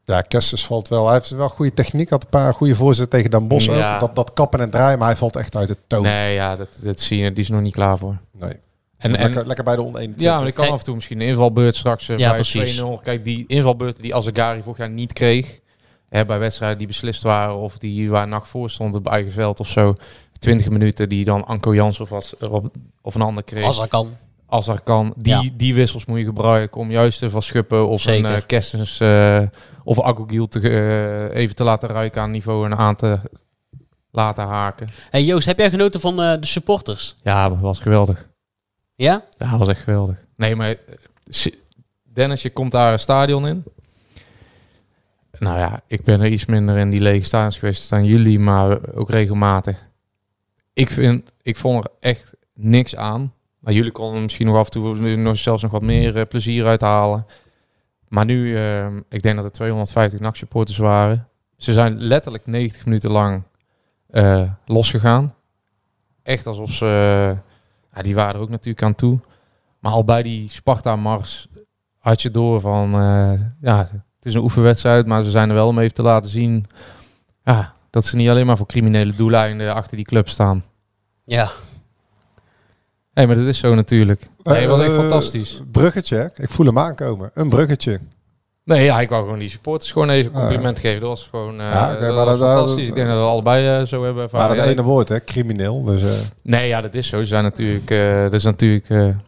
Speaker 7: Ja, Kerstens valt wel. Hij heeft wel goede techniek. Had een paar goede voorzetten tegen Dan Bos
Speaker 6: Ja.
Speaker 7: ook. Dat, dat kappen en draaien, maar hij valt echt uit het toon. Nee.
Speaker 6: Nee, ja, dat, dat zie je, die is nog niet klaar voor. En, en,
Speaker 7: lekker, lekker bij de oneen.
Speaker 6: ja, maar ik kan
Speaker 5: Hey.
Speaker 6: af en toe misschien een invalbeurt straks eh,
Speaker 5: Ja,
Speaker 6: bij
Speaker 5: precies.
Speaker 6: 2-0. Kijk, die invalbeurten die Azagari vorig jaar niet kreeg, hè, bij wedstrijden die beslist waren of die waar NAC voor stond op eigen veld of zo, 20 minuten die dan Anko Jans of, wat- of een ander kreeg.
Speaker 5: Als dat kan.
Speaker 6: als er kan. Die, die wissels moet je gebruiken om juist te van Schuppen of
Speaker 5: Zeker.
Speaker 6: een eh, Kerstens eh, of Agogiel te, eh, even te laten ruiken aan niveau en aan te laten haken.
Speaker 5: hey, Joost, heb jij genoten van eh, de supporters?
Speaker 6: Ja, dat was geweldig.
Speaker 5: Ja?
Speaker 6: Ja, dat was echt geweldig. Nee, maar eh, si- Dennis, je komt daar een stadion in. Nou ja, ik ben er iets minder in die lege stadions geweest dan jullie, maar ook regelmatig. Ik, vind, ik vond er echt niks aan. Maar jullie konden er misschien nog af en toe nog zelfs nog wat meer eh, plezier uithalen. Maar nu, eh, ik denk dat er 250 nachtsupporters waren. Ze zijn letterlijk 90 minuten lang eh, losgegaan. Echt alsof ze... eh, ja, die waren er ook natuurlijk aan toe. Maar al bij die Sparta-mars had je door van... eh, ja, het is een oefenwedstrijd, maar ze zijn er wel om even te laten zien... Ja, dat ze niet alleen maar voor criminele doeleinden achter die club staan.
Speaker 5: Ja.
Speaker 6: Hé, maar dat is zo natuurlijk. Nee, het was
Speaker 7: Eh,
Speaker 6: echt fantastisch.
Speaker 7: Bruggetje, hè? ik voel hem aankomen. Een bruggetje.
Speaker 6: Nee, ja, ik wou gewoon die supporters gewoon even een compliment geven. Dat was gewoon eh,
Speaker 7: Ah, Ja, oké,
Speaker 6: dat
Speaker 7: maar
Speaker 6: was
Speaker 7: dat-
Speaker 6: fantastisch.
Speaker 7: dat-
Speaker 6: ik denk dat we allebei eh, zo hebben ervaren.
Speaker 7: Maar dat
Speaker 6: Ja,
Speaker 7: ene woord, hè? crimineel. Dus, eh,
Speaker 6: Nee, ja, dat is zo. Ze zijn natuurlijk, eh er is natuurlijk eh, een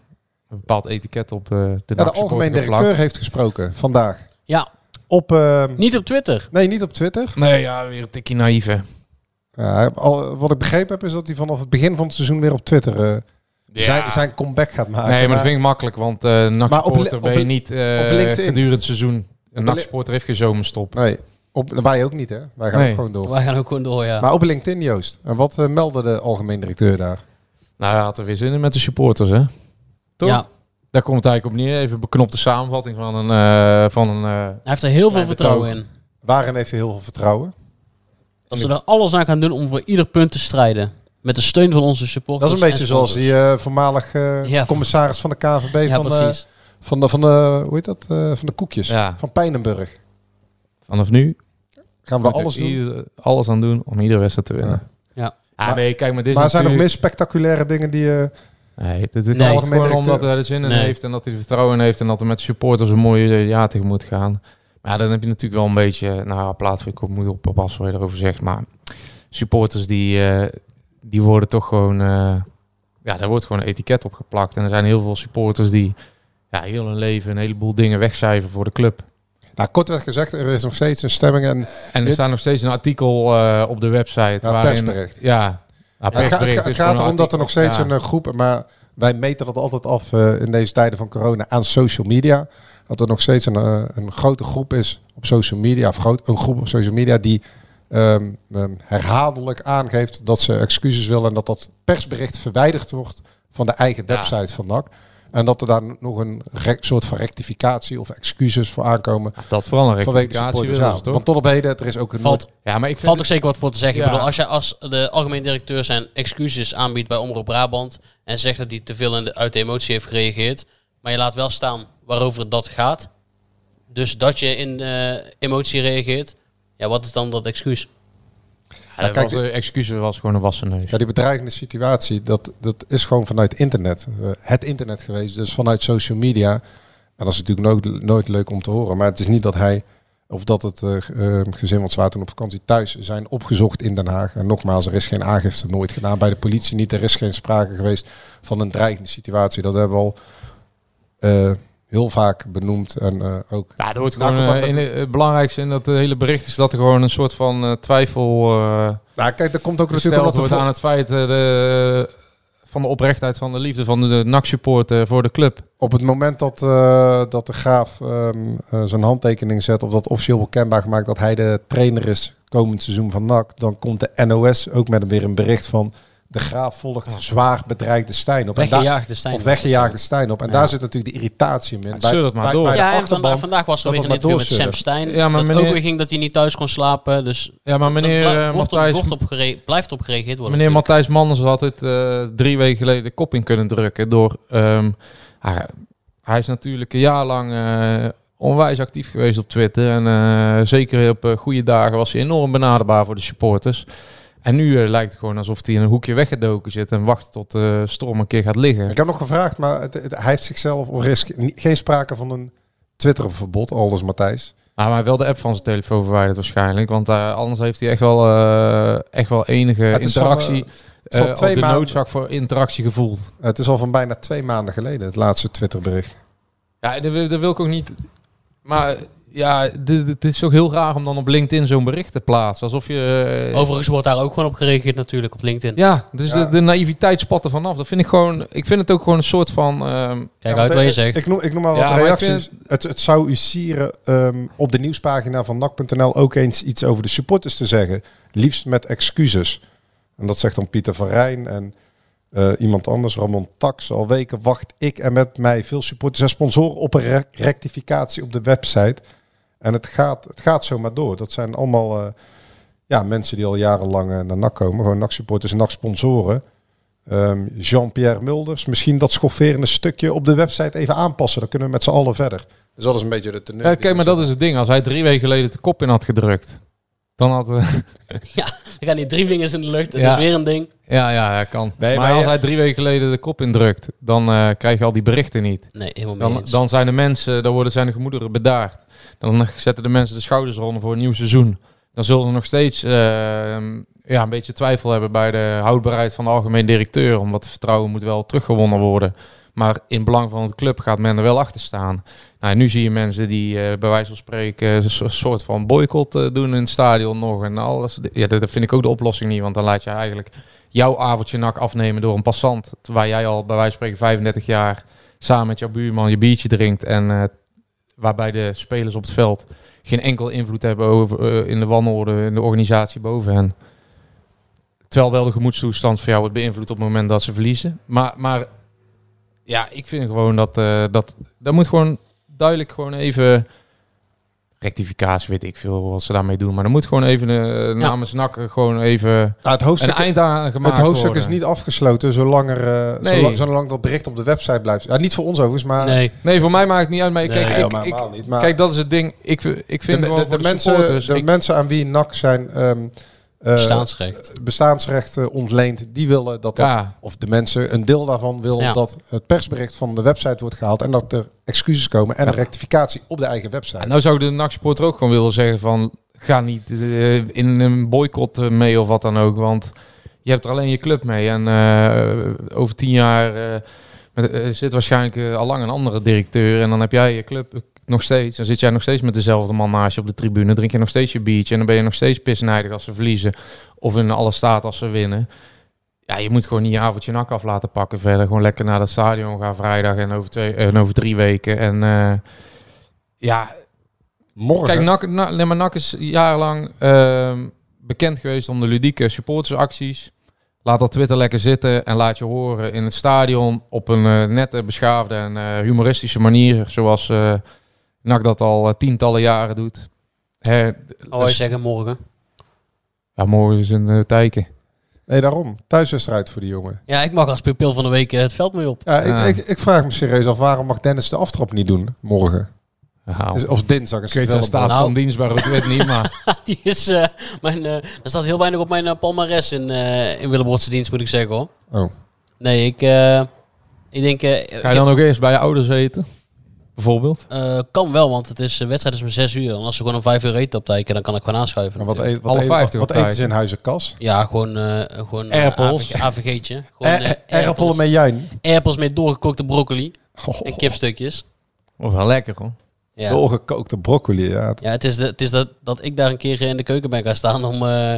Speaker 6: bepaald etiket op eh, de
Speaker 7: ja, de
Speaker 6: nachtsupporter
Speaker 7: algemeen
Speaker 6: geplakt.
Speaker 7: directeur heeft gesproken vandaag.
Speaker 5: Ja,
Speaker 7: Op, eh,
Speaker 5: niet op Twitter.
Speaker 7: nee, niet op Twitter.
Speaker 6: Nee, ja, weer een tikje naïef, hè.
Speaker 7: Ja, al, wat ik begrepen heb, is dat hij vanaf het begin van het seizoen weer op Twitter eh, zijn, zijn comeback gaat maken.
Speaker 6: Nee, maar dat vind ik makkelijk, want eh
Speaker 7: li-
Speaker 6: nachtsporter
Speaker 7: op
Speaker 6: ben je
Speaker 7: li-
Speaker 6: niet eh,
Speaker 7: op LinkedIn.
Speaker 6: gedurende het seizoen. Een
Speaker 7: li-
Speaker 6: nachtsporter heeft geen zomerstop.
Speaker 7: Nee, op, wij ook niet, hè? Wij gaan
Speaker 6: Nee.
Speaker 7: ook gewoon door.
Speaker 5: Wij gaan ook gewoon door, ja.
Speaker 7: Maar op LinkedIn, Joost. En wat eh, meldde de algemeen directeur daar?
Speaker 6: Nou, hij had er weer zin in met de supporters, hè. Toch?
Speaker 5: Ja,
Speaker 6: Daar komt het eigenlijk op neer. Even een beknopte samenvatting van een... eh, van een eh,
Speaker 5: hij heeft er heel veel
Speaker 6: Klein
Speaker 5: vertrouwen in.
Speaker 7: Waarin heeft hij heel veel vertrouwen?
Speaker 5: Dat ze er alles aan gaan doen om voor ieder punt te strijden. Met de steun van onze supporters.
Speaker 7: Dat is een beetje
Speaker 5: en
Speaker 7: zoals
Speaker 5: sponsors.
Speaker 7: die eh, voormalig eh,
Speaker 5: Ja.
Speaker 7: commissaris van de KVB
Speaker 5: Ja,
Speaker 7: van, eh,
Speaker 5: precies.
Speaker 7: van, de, van de, hoe heet dat, eh, van de koekjes.
Speaker 6: Ja.
Speaker 7: Van Pijnenburg.
Speaker 6: vanaf nu
Speaker 7: Gaan we
Speaker 6: moet er
Speaker 7: alles doen.
Speaker 6: ieder- alles aan doen om iedere wedstrijd te winnen.
Speaker 5: Ja.
Speaker 6: Ah,
Speaker 7: Maar-
Speaker 6: nee, kijk, maar dit is
Speaker 7: Maar zijn er nog
Speaker 6: natuurlijk-
Speaker 7: meer spectaculaire dingen die... eh,
Speaker 6: Nee, dit is
Speaker 5: Nee.
Speaker 6: nee,
Speaker 7: Algemeen
Speaker 6: gewoon
Speaker 7: directeur.
Speaker 6: omdat hij er zin in
Speaker 5: Nee.
Speaker 6: heeft en dat hij er vertrouwen in heeft en dat er met de supporters een mooi eh, jaar tegemoet gaan. Maar ja, dan heb je natuurlijk wel een beetje, nou, plaat voor ik op moet oppassen wat je erover zegt, maar supporters die, eh, die worden toch gewoon, eh, ja, daar wordt gewoon een etiket op geplakt. En er zijn heel veel supporters die ja, heel hun leven een heleboel dingen wegcijferen voor de club.
Speaker 7: nou, kortweg gezegd, er is nog steeds een stemming. En
Speaker 6: En er
Speaker 7: Dit-
Speaker 6: staat nog steeds een artikel eh, op de website.
Speaker 7: Ja,
Speaker 6: waarin,
Speaker 7: persbericht.
Speaker 6: Ja, nou,
Speaker 7: het, gaat- het
Speaker 6: persbericht
Speaker 7: gaat- het
Speaker 6: is gewoon
Speaker 7: gaat erom dat er nog
Speaker 6: artikel,
Speaker 7: steeds
Speaker 6: ja.
Speaker 7: een eh, groep... Maar wij meten dat altijd af eh, in deze tijden van corona aan social media. Dat er nog steeds een, eh, een grote groep is op social media. Of groot, een groep op social media die ehm, ehm, herhaaldelijk aangeeft dat ze excuses willen. En dat dat persbericht verwijderd wordt van de eigen
Speaker 6: Ja.
Speaker 7: website van NAC. En dat er daar nog een re- soort van rectificatie of excuses voor aankomen.
Speaker 6: Dat vooral een
Speaker 7: eh, Vanwege de
Speaker 6: rectificatie
Speaker 7: supporters.
Speaker 6: willen
Speaker 7: Ja,
Speaker 6: ze, toch?
Speaker 7: Want tot op heden, er is ook een...
Speaker 5: Valt,
Speaker 6: Ja, maar ik vind
Speaker 5: valt ook zeker wat voor te zeggen.
Speaker 6: Ja.
Speaker 5: Ik bedoel, als je als de algemeen directeur zijn excuses aanbiedt bij Omroep Brabant... en zegt dat hij te veel in de, uit de emotie heeft gereageerd... maar je laat wel staan waarover dat gaat... dus dat je in eh, emotie reageert... ja, wat is dan dat excuus?
Speaker 6: Ja, dat
Speaker 7: kijk,
Speaker 6: was, de excuus was gewoon een wassen neus.
Speaker 7: Ja, die bedreigende situatie, dat, dat is gewoon vanuit internet. eh, het internet geweest, dus vanuit social media. En dat is natuurlijk nooit, nooit leuk om te horen. Maar het is niet dat hij, of dat het eh, g- eh, gezin, want ze waren toen op vakantie thuis, zijn opgezocht in Den Haag. En nogmaals, er is geen aangifte nooit gedaan bij de politie niet. Er is geen sprake geweest van een dreigende situatie. Dat hebben we al eh, heel vaak benoemd. En eh, ook
Speaker 6: Ja, er wordt
Speaker 7: Nou,
Speaker 6: gewoon,
Speaker 7: contact
Speaker 6: eh, in,
Speaker 7: met-
Speaker 6: eh, het belangrijkste in dat hele bericht is dat er gewoon een soort van eh, twijfel eh
Speaker 7: Nou, kijk, dat komt ook natuurlijk
Speaker 6: gesteld
Speaker 7: omdat
Speaker 6: wordt
Speaker 7: de
Speaker 6: aan het feit eh, de, van de oprechtheid van de liefde van de, de NAC-support eh, voor de club.
Speaker 7: Op het moment dat, eh, dat de graaf ehm, eh, zijn handtekening zet, of dat officieel wordt kenbaar gemaakt dat hij de trainer is komend seizoen van NAC, dan komt de NOS ook met weer een bericht van De Graaf volgt zwaar bedreigde Stijn op. En daar-
Speaker 5: Weggejaagd de Stijn.
Speaker 7: Of weggejaagd de Stijn op. En daar zit natuurlijk de irritatie in. Bij-
Speaker 6: zeur dat maar
Speaker 7: bij-
Speaker 6: door.
Speaker 7: bij de
Speaker 5: Ja, en nou,
Speaker 7: achterban,
Speaker 5: vandaag, vandaag was er
Speaker 7: dat
Speaker 5: weer een
Speaker 7: het
Speaker 5: interview met
Speaker 7: maar
Speaker 5: Sam
Speaker 7: doorzeurt.
Speaker 5: Stein.
Speaker 6: Ja, maar
Speaker 5: dat
Speaker 6: meneer-
Speaker 5: ook weer ging dat hij niet thuis kon slapen. Dus
Speaker 6: Ja, maar meneer
Speaker 5: dat blij-
Speaker 6: eh,
Speaker 5: wordt, op,
Speaker 6: Matthijs-
Speaker 5: wordt op gere- blijft op gereageerd worden.
Speaker 6: Meneer
Speaker 5: natuurlijk.
Speaker 6: Matthijs Manders had het eh, drie weken geleden de kop in kunnen drukken. Door, ehm, hij, hij is natuurlijk een jaar lang eh, onwijs actief geweest op Twitter. En eh, zeker op eh, goede dagen was hij enorm benaderbaar voor de supporters. En nu eh, lijkt het gewoon alsof hij in een hoekje weggedoken zit en wacht tot de storm een keer gaat liggen.
Speaker 7: Ik heb nog gevraagd, maar het, het- hij heeft zichzelf... Of er is ge- geen sprake van een Twitter-verbod, aldus Matthijs.
Speaker 6: Ah, maar hij heeft wel de app van zijn telefoon verwijderd waarschijnlijk. Want eh, anders heeft hij echt wel, eh, echt wel enige
Speaker 7: Het is van,
Speaker 6: interactie,
Speaker 7: is van
Speaker 6: eh,
Speaker 7: twee
Speaker 6: of de
Speaker 7: maanden.
Speaker 6: noodzaak voor interactie gevoeld.
Speaker 7: Het is al van bijna twee maanden geleden, het laatste Twitterbericht.
Speaker 6: Ja, dat wil, dat wil ik ook niet. Maar ja, dit, dit is ook heel raar om dan op LinkedIn zo'n bericht te plaatsen. Alsof je... eh,
Speaker 5: Overigens wordt daar ook gewoon op gereageerd natuurlijk op LinkedIn.
Speaker 6: Ja, dus
Speaker 7: Ja.
Speaker 6: De, de naïviteit spat er vanaf. Dat vind ik gewoon... Ik vind het ook gewoon een soort van... ehm,
Speaker 5: Kijk
Speaker 7: Ja,
Speaker 5: uit
Speaker 7: want,
Speaker 5: wat je
Speaker 7: eh,
Speaker 5: zegt.
Speaker 7: Ik noem, ik noem maar wat
Speaker 6: Ja, maar ik
Speaker 7: reacties.
Speaker 6: vind
Speaker 7: het, het zou u sieren ehm, op de nieuwspagina van NAC.nl ook eens iets over de supporters te zeggen. Liefst met excuses. En dat zegt dan Pieter van Rijn en eh, iemand anders, Ramon Tax. Al weken wacht ik en met mij veel supporters en sponsoren op een rec- rectificatie op de website. En het gaat, het gaat zomaar door. Dat zijn allemaal eh, ja, mensen die al jarenlang eh, naar NAC komen. Gewoon NAC-supporters en NAC-sponsoren. Ehm, Jean-Pierre Mulders. Misschien dat schofferende stukje op de website even aanpassen. Dan kunnen we met z'n allen verder. Dus dat is een beetje de teneur.
Speaker 6: ja,
Speaker 7: die
Speaker 6: kijk,
Speaker 7: we
Speaker 6: maar dat is het ding. Als hij drie weken geleden de kop in had gedrukt... Dan had... eh,
Speaker 5: Dan gaan die drie vingers in de lucht. Dat
Speaker 6: Ja.
Speaker 5: is weer een ding.
Speaker 6: ja, ja, ja, kan.
Speaker 7: Nee,
Speaker 6: maar
Speaker 7: maar
Speaker 6: als
Speaker 7: ja-
Speaker 6: hij drie weken geleden de kop indrukt... Dan eh, krijg je al die berichten niet.
Speaker 5: Nee, helemaal mee
Speaker 6: Dan,
Speaker 5: eens.
Speaker 6: dan zijn de mensen... Dan worden zijn de gemoederen bedaard. Dan zetten de mensen de schouders eronder voor een nieuw seizoen. dan zullen ze nog steeds eh, ja, een beetje twijfel hebben bij de houdbaarheid van de algemeen directeur. Omdat het vertrouwen moet wel teruggewonnen worden. Maar in het belang van de club gaat men er wel achter staan. Nou, en nu zie je mensen die eh, bij wijze van spreken eh, een so- soort van boycott eh, doen in het stadion nog en alles. Ja, dat dat vind ik ook de oplossing niet, want dan laat je eigenlijk jouw avondje nak afnemen door een passant. Waar jij al bij wijze van spreken 35 jaar samen met jouw buurman je biertje drinkt. En eh, waarbij de spelers op het veld geen enkel invloed hebben over, eh, in de wanorde, in de organisatie boven hen. Terwijl wel de gemoedstoestand van jou wordt beïnvloed op het moment dat ze verliezen. Maar, maar ja, ik vind gewoon dat, eh, dat dat moet gewoon duidelijk gewoon even rectificatie, weet ik veel wat ze daarmee doen. Maar er moet gewoon even eh, namens nakken gewoon even
Speaker 7: Nou, het
Speaker 6: een
Speaker 7: hoofdstuk,
Speaker 6: eind aan gemaakt
Speaker 7: het hoofdstuk
Speaker 6: worden.
Speaker 7: is niet afgesloten zolang, er, eh,
Speaker 6: Nee.
Speaker 7: zolang, zolang dat bericht op de website blijft. Ja, niet voor ons overigens, maar...
Speaker 5: nee.
Speaker 6: Nee, voor mij maakt het niet uit. Maar
Speaker 5: Nee,
Speaker 6: kijk,
Speaker 7: Nee,
Speaker 6: ik,
Speaker 7: maar
Speaker 6: ik-
Speaker 7: helemaal niet, maar-
Speaker 6: kijk, dat is het ding. Ik, v- ik
Speaker 7: De,
Speaker 6: vind
Speaker 7: de,
Speaker 6: wel
Speaker 7: de
Speaker 6: voor de
Speaker 7: mensen,
Speaker 6: supporters,
Speaker 7: de
Speaker 6: ik-
Speaker 7: mensen aan wie NAC zijn ehm, eh,
Speaker 5: Bestaansrecht.
Speaker 7: bestaansrechten ontleent, die willen dat dat
Speaker 6: ja,
Speaker 7: Of de mensen, een deel daarvan wil
Speaker 5: Ja.
Speaker 7: dat het persbericht van de website wordt gehaald en dat er excuses komen en
Speaker 6: Ja.
Speaker 7: een rectificatie op de eigen website.
Speaker 6: En nou zou ik de NAC-supporter ook gewoon willen zeggen van... Ga niet eh, in een boycott eh, mee of wat dan ook. Want je hebt er alleen je club mee. En eh, over tien jaar eh, met- eh, zit waarschijnlijk eh, al lang een andere directeur. En dan heb jij je club eh, nog steeds. Dan zit jij nog steeds met dezelfde man naast je op de tribune. Drink je nog steeds je biertje. En dan ben je nog steeds pisnijdig als ze verliezen. Of in alle staat als ze winnen. Ja, je moet gewoon niet je avondje nak af laten pakken verder. Gewoon lekker naar dat stadion gaan vrijdag en over, twee, en over drie weken. En eh, ja,
Speaker 7: Morgen.
Speaker 6: Kijk, nou- NAC, NAC, nee, maar NAC is jarenlang ehm, bekend geweest om de ludieke supportersacties. Laat dat Twitter lekker zitten en laat je horen in het stadion op een eh, nette, beschaafde en eh, humoristische manier. Zoals eh NAC dat al eh, tientallen jaren doet. Hè, dus-
Speaker 5: Oh,
Speaker 7: dus-
Speaker 5: wij zeggen morgen.
Speaker 6: ja, morgen is een eh, tijken.
Speaker 7: nee, daarom. Thuiswedstrijd voor die jongen.
Speaker 5: Ja, ik mag als pupil van de week eh, het veld mee op.
Speaker 7: Ja, ik,
Speaker 6: Ja.
Speaker 7: Ik, ik vraag me serieus af, waarom mag Dennis de aftrap niet doen morgen?
Speaker 6: Ja,
Speaker 7: Is- Of dinsdag is
Speaker 6: ik weet
Speaker 7: het
Speaker 6: wel
Speaker 7: wel
Speaker 6: staat
Speaker 7: een
Speaker 5: Nou.
Speaker 6: van dienst bij Rood-Wit niet, maar
Speaker 5: Die is, eh, mijn, eh, er staat heel weinig op mijn eh, palmares in, eh in Willebordse dienst, moet ik zeggen hoor.
Speaker 7: Oh.
Speaker 5: Nee, ik, eh, ik denk... eh, ik
Speaker 6: ga je
Speaker 5: heb-
Speaker 6: dan ook eerst bij je ouders eten? Bijvoorbeeld?
Speaker 5: eh, kan wel, want het is, de wedstrijd is om 6 uur. En als ze gewoon om 5 uur eten optijken, dan kan ik gewoon aanschuiven.
Speaker 7: Maar nou, wat,
Speaker 5: natuurlijk.
Speaker 7: eet- wat,
Speaker 6: Alle
Speaker 7: eet- wat,
Speaker 6: vijftig
Speaker 7: wat
Speaker 6: op
Speaker 7: eten
Speaker 6: tijd.
Speaker 7: ze in huizen kas?
Speaker 5: ja, gewoon, eh gewoon eh,
Speaker 6: Erpels.
Speaker 5: AVG AVG'tje. Gewoon, eh,
Speaker 7: Erpelen met juin.
Speaker 5: erpels met doorgekookte broccoli
Speaker 7: Oh,
Speaker 5: en kipstukjes.
Speaker 6: Of Oh, wel lekker hoor.
Speaker 5: Ja.
Speaker 6: Oh.
Speaker 7: Doorgekookte broccoli, ja.
Speaker 5: Ja, het is, de, het is dat, dat ik daar een keer eh, in de keuken ben gaan staan om eh,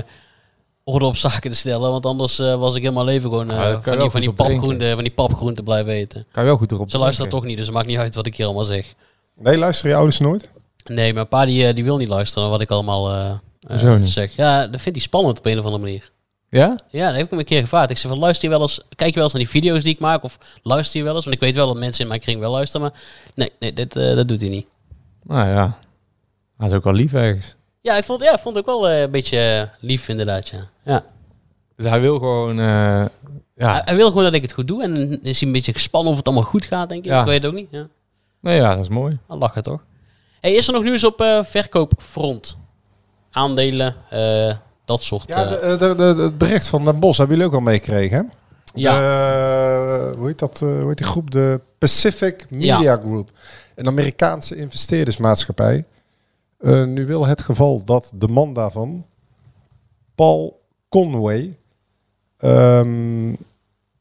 Speaker 5: orde op zaken te stellen. Want anders eh, was ik helemaal leven gewoon eh,
Speaker 6: Ah, daar kan je
Speaker 5: van,
Speaker 6: wel
Speaker 5: die, van, die
Speaker 6: goed op drinken.
Speaker 5: papgroenten, van die papgroenten blijven eten.
Speaker 6: Kan je wel goed erop
Speaker 5: Ze luistert
Speaker 6: drinken.
Speaker 5: toch niet, dus het maakt niet uit wat ik hier allemaal zeg.
Speaker 7: Nee, luister je ouders nooit?
Speaker 5: Nee, mijn pa die, eh, die wil niet luisteren naar wat ik allemaal eh, eh,
Speaker 6: Hoezo niet?
Speaker 5: zeg. Ja, dat vindt hij spannend op een of andere manier.
Speaker 6: Ja?
Speaker 5: Ja, dat heb ik hem een keer gevraagd. Ik zei van, luister je wel eens, kijk je wel eens naar die video's die ik maak? Of luister je wel eens? Want ik weet wel dat mensen in mijn kring wel luisteren, maar nee, nee dit, eh, dat doet hij niet.
Speaker 6: Nou ja. Dat is ook wel lief ergens.
Speaker 5: Ja, ik vond, ja, ik vond het ook wel eh, een beetje eh, lief inderdaad, ja. ja.
Speaker 6: Dus hij wil gewoon... eh,
Speaker 5: Hij,
Speaker 6: ja.
Speaker 5: hij wil gewoon dat ik het goed doe en dan is hij een beetje gespannen of het allemaal goed gaat, denk ik.
Speaker 6: Ja.
Speaker 5: Ik weet het ook niet, ja.
Speaker 6: Nou ja, dat is mooi.
Speaker 5: Dan lachen toch. Hey, is er nog nieuws op eh, verkoopfront? Aandelen, eh, dat soort.
Speaker 7: Ja,
Speaker 5: eh,
Speaker 7: de- de- de- de- het bericht van Den Bos hebben jullie ook al meegekregen, hè?
Speaker 5: ja.
Speaker 7: De, hoe, heet dat, eh, hoe heet die groep? De Pacific Media Group. Een Amerikaanse investeerdersmaatschappij. Eh, nu wil het geval dat de man daarvan, Paul Conway, ehm,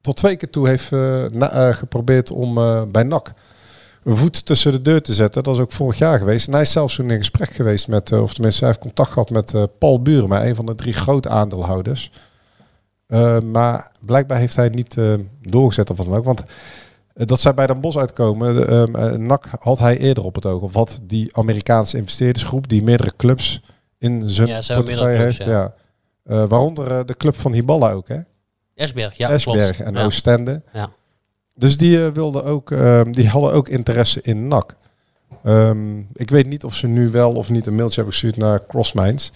Speaker 7: tot twee keer toe heeft eh, na- eh, geprobeerd om eh, bij NAC een voet tussen de deur te zetten. Dat is ook vorig jaar geweest. En hij is zelfs toen in gesprek geweest met, eh, of tenminste, hij heeft contact gehad met eh, Paul Burma, een van de drie grote aandeelhouders. Eh, maar blijkbaar heeft hij niet eh, doorgezet of wat dan ook. Want eh, dat zij bij Den Bos uitkomen, de, ehm, eh, NAC had hij eerder op het oog. Of had die Amerikaanse investeerdersgroep die meerdere clubs in zijn
Speaker 5: Ja, ze hebben
Speaker 7: portefeuille
Speaker 5: meerdere clubs,
Speaker 7: heeft. Ja. Eh, waaronder eh, de club van Hiballa ook, hè?
Speaker 5: Esberg, ja,
Speaker 7: Esberg
Speaker 5: klopt.
Speaker 7: en
Speaker 5: ja.
Speaker 7: Oostende.
Speaker 5: Ja.
Speaker 7: Dus die, eh, wilden ook, ehm, die hadden ook interesse in NAC. Ehm, ik weet niet of ze nu wel of niet een mailtje hebben gestuurd naar CrossMinds.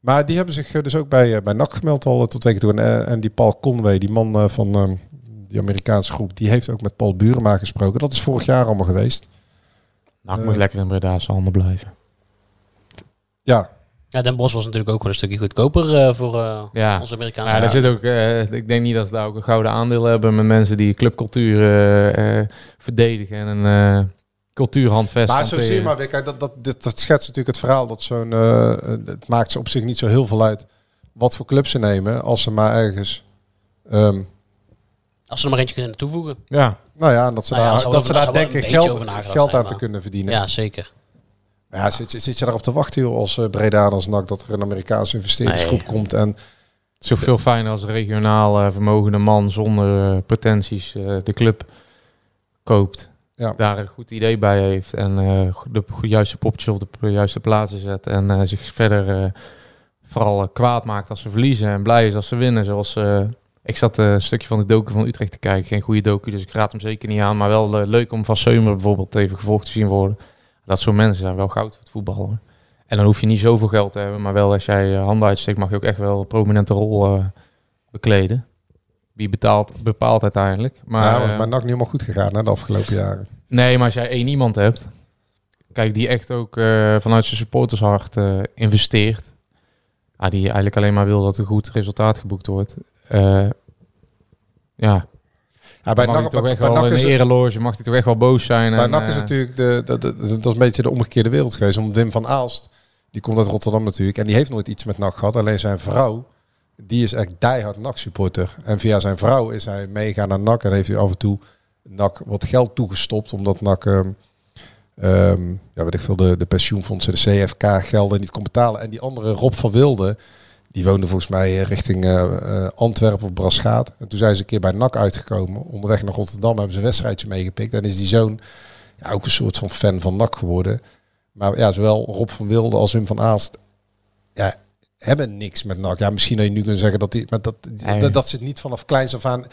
Speaker 7: Maar die hebben zich eh, dus ook bij, eh, bij NAC gemeld al eh, tot twee keer toe. En, eh, en die Paul Conway, die man eh, van ehm, die Amerikaanse groep, die heeft ook met Paul Burema gesproken. Dat is vorig jaar allemaal geweest.
Speaker 6: Nou, ik
Speaker 7: Eh.
Speaker 6: moet lekker in Breda's handen blijven.
Speaker 7: Ja,
Speaker 5: Ja, Den Bos was natuurlijk ook gewoon een stukje goedkoper eh, voor eh,
Speaker 6: Ja.
Speaker 5: onze Amerikaanse.
Speaker 6: Ja, daar zit ook, eh, ik denk niet dat ze daar ook een gouden aandeel hebben met mensen die clubcultuur eh, eh, verdedigen en een eh cultuur handvesten.
Speaker 7: Maar zo zie je
Speaker 5: eh.
Speaker 7: maar weer. Kijk, dat, dat, dit, dat schetst natuurlijk het verhaal dat zo'n. eh, eh, het maakt ze op zich niet zo heel veel uit wat voor club ze nemen. Als ze maar ergens. ehm,
Speaker 5: Als ze er maar eentje kunnen toevoegen.
Speaker 6: Ja,
Speaker 7: nou ja, dat ze
Speaker 5: Nou ja,
Speaker 7: daar,
Speaker 5: zou
Speaker 7: dat
Speaker 5: er-
Speaker 7: ze
Speaker 5: daar zou
Speaker 7: daar
Speaker 5: wel een
Speaker 7: denken
Speaker 5: beetje
Speaker 7: geld,
Speaker 5: over nagedacht
Speaker 7: geld
Speaker 5: zijn,
Speaker 7: aan te
Speaker 5: maar-
Speaker 7: kunnen verdienen. Ja.
Speaker 5: Ja, zeker.
Speaker 7: zit, je- zit je daarop te wachten joh, als eh, Breda en als NAC dat er een Amerikaanse investeerdersgroep komt. En
Speaker 6: het is ook veel fijner als een regionaal eh, vermogende man zonder eh, pretenties eh, de club koopt.
Speaker 7: Ja.
Speaker 6: Daar een goed idee bij heeft en eh, go- de go- juiste poppetjes op de p- juiste plaatsen zet. En eh, zich verder eh, vooral eh, kwaad maakt als ze verliezen en blij is als ze winnen. Zoals, eh, ik zat eh, een stukje van de docu van Utrecht te kijken. Geen goede docu, dus ik raad hem zeker niet aan. Maar wel eh, leuk om Van Seumer bijvoorbeeld even gevolgd te zien worden. Dat soort mensen zijn wel goud voor het voetbal. hoor. En dan hoef je niet zoveel geld te hebben. Maar wel als jij eh, handen uitsteekt mag je ook echt wel een prominente rol eh, bekleden. Wie betaalt, bepaalt uiteindelijk. Maar,
Speaker 7: nou, was
Speaker 6: eh,
Speaker 7: bij NAC niet helemaal goed gegaan hè, de afgelopen jaren.
Speaker 6: Nee, maar als jij één iemand hebt, kijk, die echt ook eh, vanuit zijn supportershart eh, investeert, ah, die eigenlijk alleen maar wil dat er goed resultaat geboekt wordt, eh, ja,
Speaker 7: Ja, bij
Speaker 6: bij mag hij
Speaker 7: NAC, bij,
Speaker 6: toch echt
Speaker 7: bij
Speaker 6: wel
Speaker 7: NAC
Speaker 6: in
Speaker 7: is
Speaker 6: de
Speaker 7: het,
Speaker 6: ereloge, mag hij toch echt wel boos zijn.
Speaker 7: bij
Speaker 6: en,
Speaker 7: NAC is
Speaker 6: eh,
Speaker 7: natuurlijk de, de, de- de- dat is een beetje de omgekeerde wereld geweest. Om Wim van Aalst, die komt uit Rotterdam natuurlijk. En die heeft nooit iets met NAC gehad. Alleen zijn vrouw die is echt diehard NAC-supporter. En via zijn vrouw is hij meegaan naar NAC. En heeft hij af en toe NAC wat geld toegestopt. Omdat NAC, ehm, ehm, ja, weet ik veel, de, de pensioenfondsen, de CFK gelden niet kon betalen. En die andere, Rob van Wilde, die woonde volgens mij eh, richting eh, eh, Antwerpen of Braschaat. En toen zijn ze een keer bij NAC uitgekomen. Onderweg naar Rotterdam hebben ze een wedstrijdje meegepikt. En is die zoon ja, ook een soort van fan van NAC geworden. Maar ja, zowel Rob van Wilde als Wim van Aast ja, hebben niks met NAC. Ja, misschien dat je nu kunt zeggen dat die, maar dat, die-
Speaker 6: Nee.
Speaker 7: dat, dat zit niet vanaf kleins af aan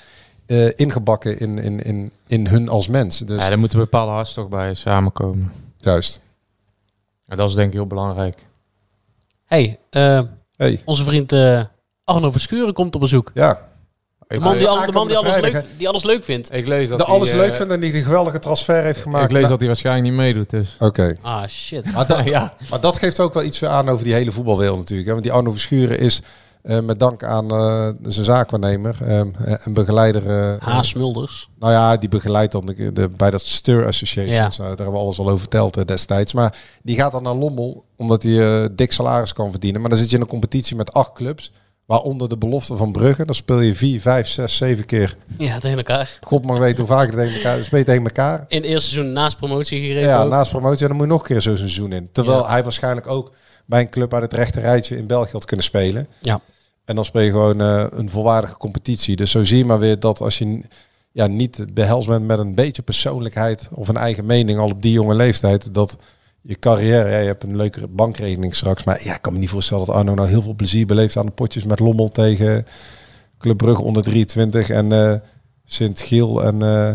Speaker 7: eh, ingebakken in, in, in, in hun als mens. Dus
Speaker 6: Ja, daar moet een bepaalde hartstocht bij samenkomen.
Speaker 7: juist.
Speaker 6: En dat is denk ik heel belangrijk.
Speaker 5: Hey, eh,
Speaker 7: Hey,
Speaker 5: onze vriend eh, Arno Verschuren komt op bezoek.
Speaker 7: ja.
Speaker 5: De
Speaker 6: Ik,
Speaker 5: man die,
Speaker 6: lees-
Speaker 5: al- de man die, alles,
Speaker 7: Aankomende
Speaker 5: leuk, die alles leuk vindt.
Speaker 6: ik lees dat
Speaker 7: De
Speaker 6: hij,
Speaker 7: Nou, alles
Speaker 6: eh,
Speaker 7: leuk vindt en die een geweldige transfer heeft gemaakt. Nou,
Speaker 6: Ik lees dat hij waarschijnlijk niet meedoet, dus.
Speaker 7: Oké.
Speaker 5: Ah, shit.
Speaker 7: Maar dat, maar dat geeft ook wel iets weer aan over die hele voetbalwereld natuurlijk. Hè? Want die Arno Verschuren is eh, met dank aan eh, zijn zaakwaarnemer ehm, eh, en begeleider. eh,
Speaker 5: H. Smulders.
Speaker 7: nou ja, die begeleidt dan de, de- bij dat Stir Association.
Speaker 5: Ja.
Speaker 7: Nou, daar hebben we alles al over verteld eh, destijds. Maar die gaat dan naar Lommel, omdat hij eh, dik salaris kan verdienen. Maar dan zit je in een competitie met acht clubs. Waaronder de belofte van Brugge. Dan speel je vier, vijf, zes, zeven keer.
Speaker 5: Ja, tegen elkaar.
Speaker 7: God mag weten hoe vaak je tegen elkaar. Dan speel je tegen elkaar.
Speaker 5: In het eerste seizoen naast promotie gereden.
Speaker 7: Ja,
Speaker 5: ook.
Speaker 7: naast promotie, ja, dan moet je nog een keer zo'n seizoen in. Terwijl
Speaker 5: Ja.
Speaker 7: hij waarschijnlijk ook bij een club uit het rechte rijtje in België had kunnen spelen.
Speaker 5: Ja.
Speaker 7: En dan speel je gewoon eh, een volwaardige competitie. Dus zo zie je maar weer dat als je n- ja, niet behelst bent met een beetje persoonlijkheid of een eigen mening al op die jonge leeftijd, dat je carrière. Ja, je hebt een leuke bankrekening straks. Maar ja, ik kan me niet voorstellen dat Arno nou heel veel plezier beleeft aan de potjes met Lommel tegen Club Brugge onder 23 en eh Sint-Giel. En eh,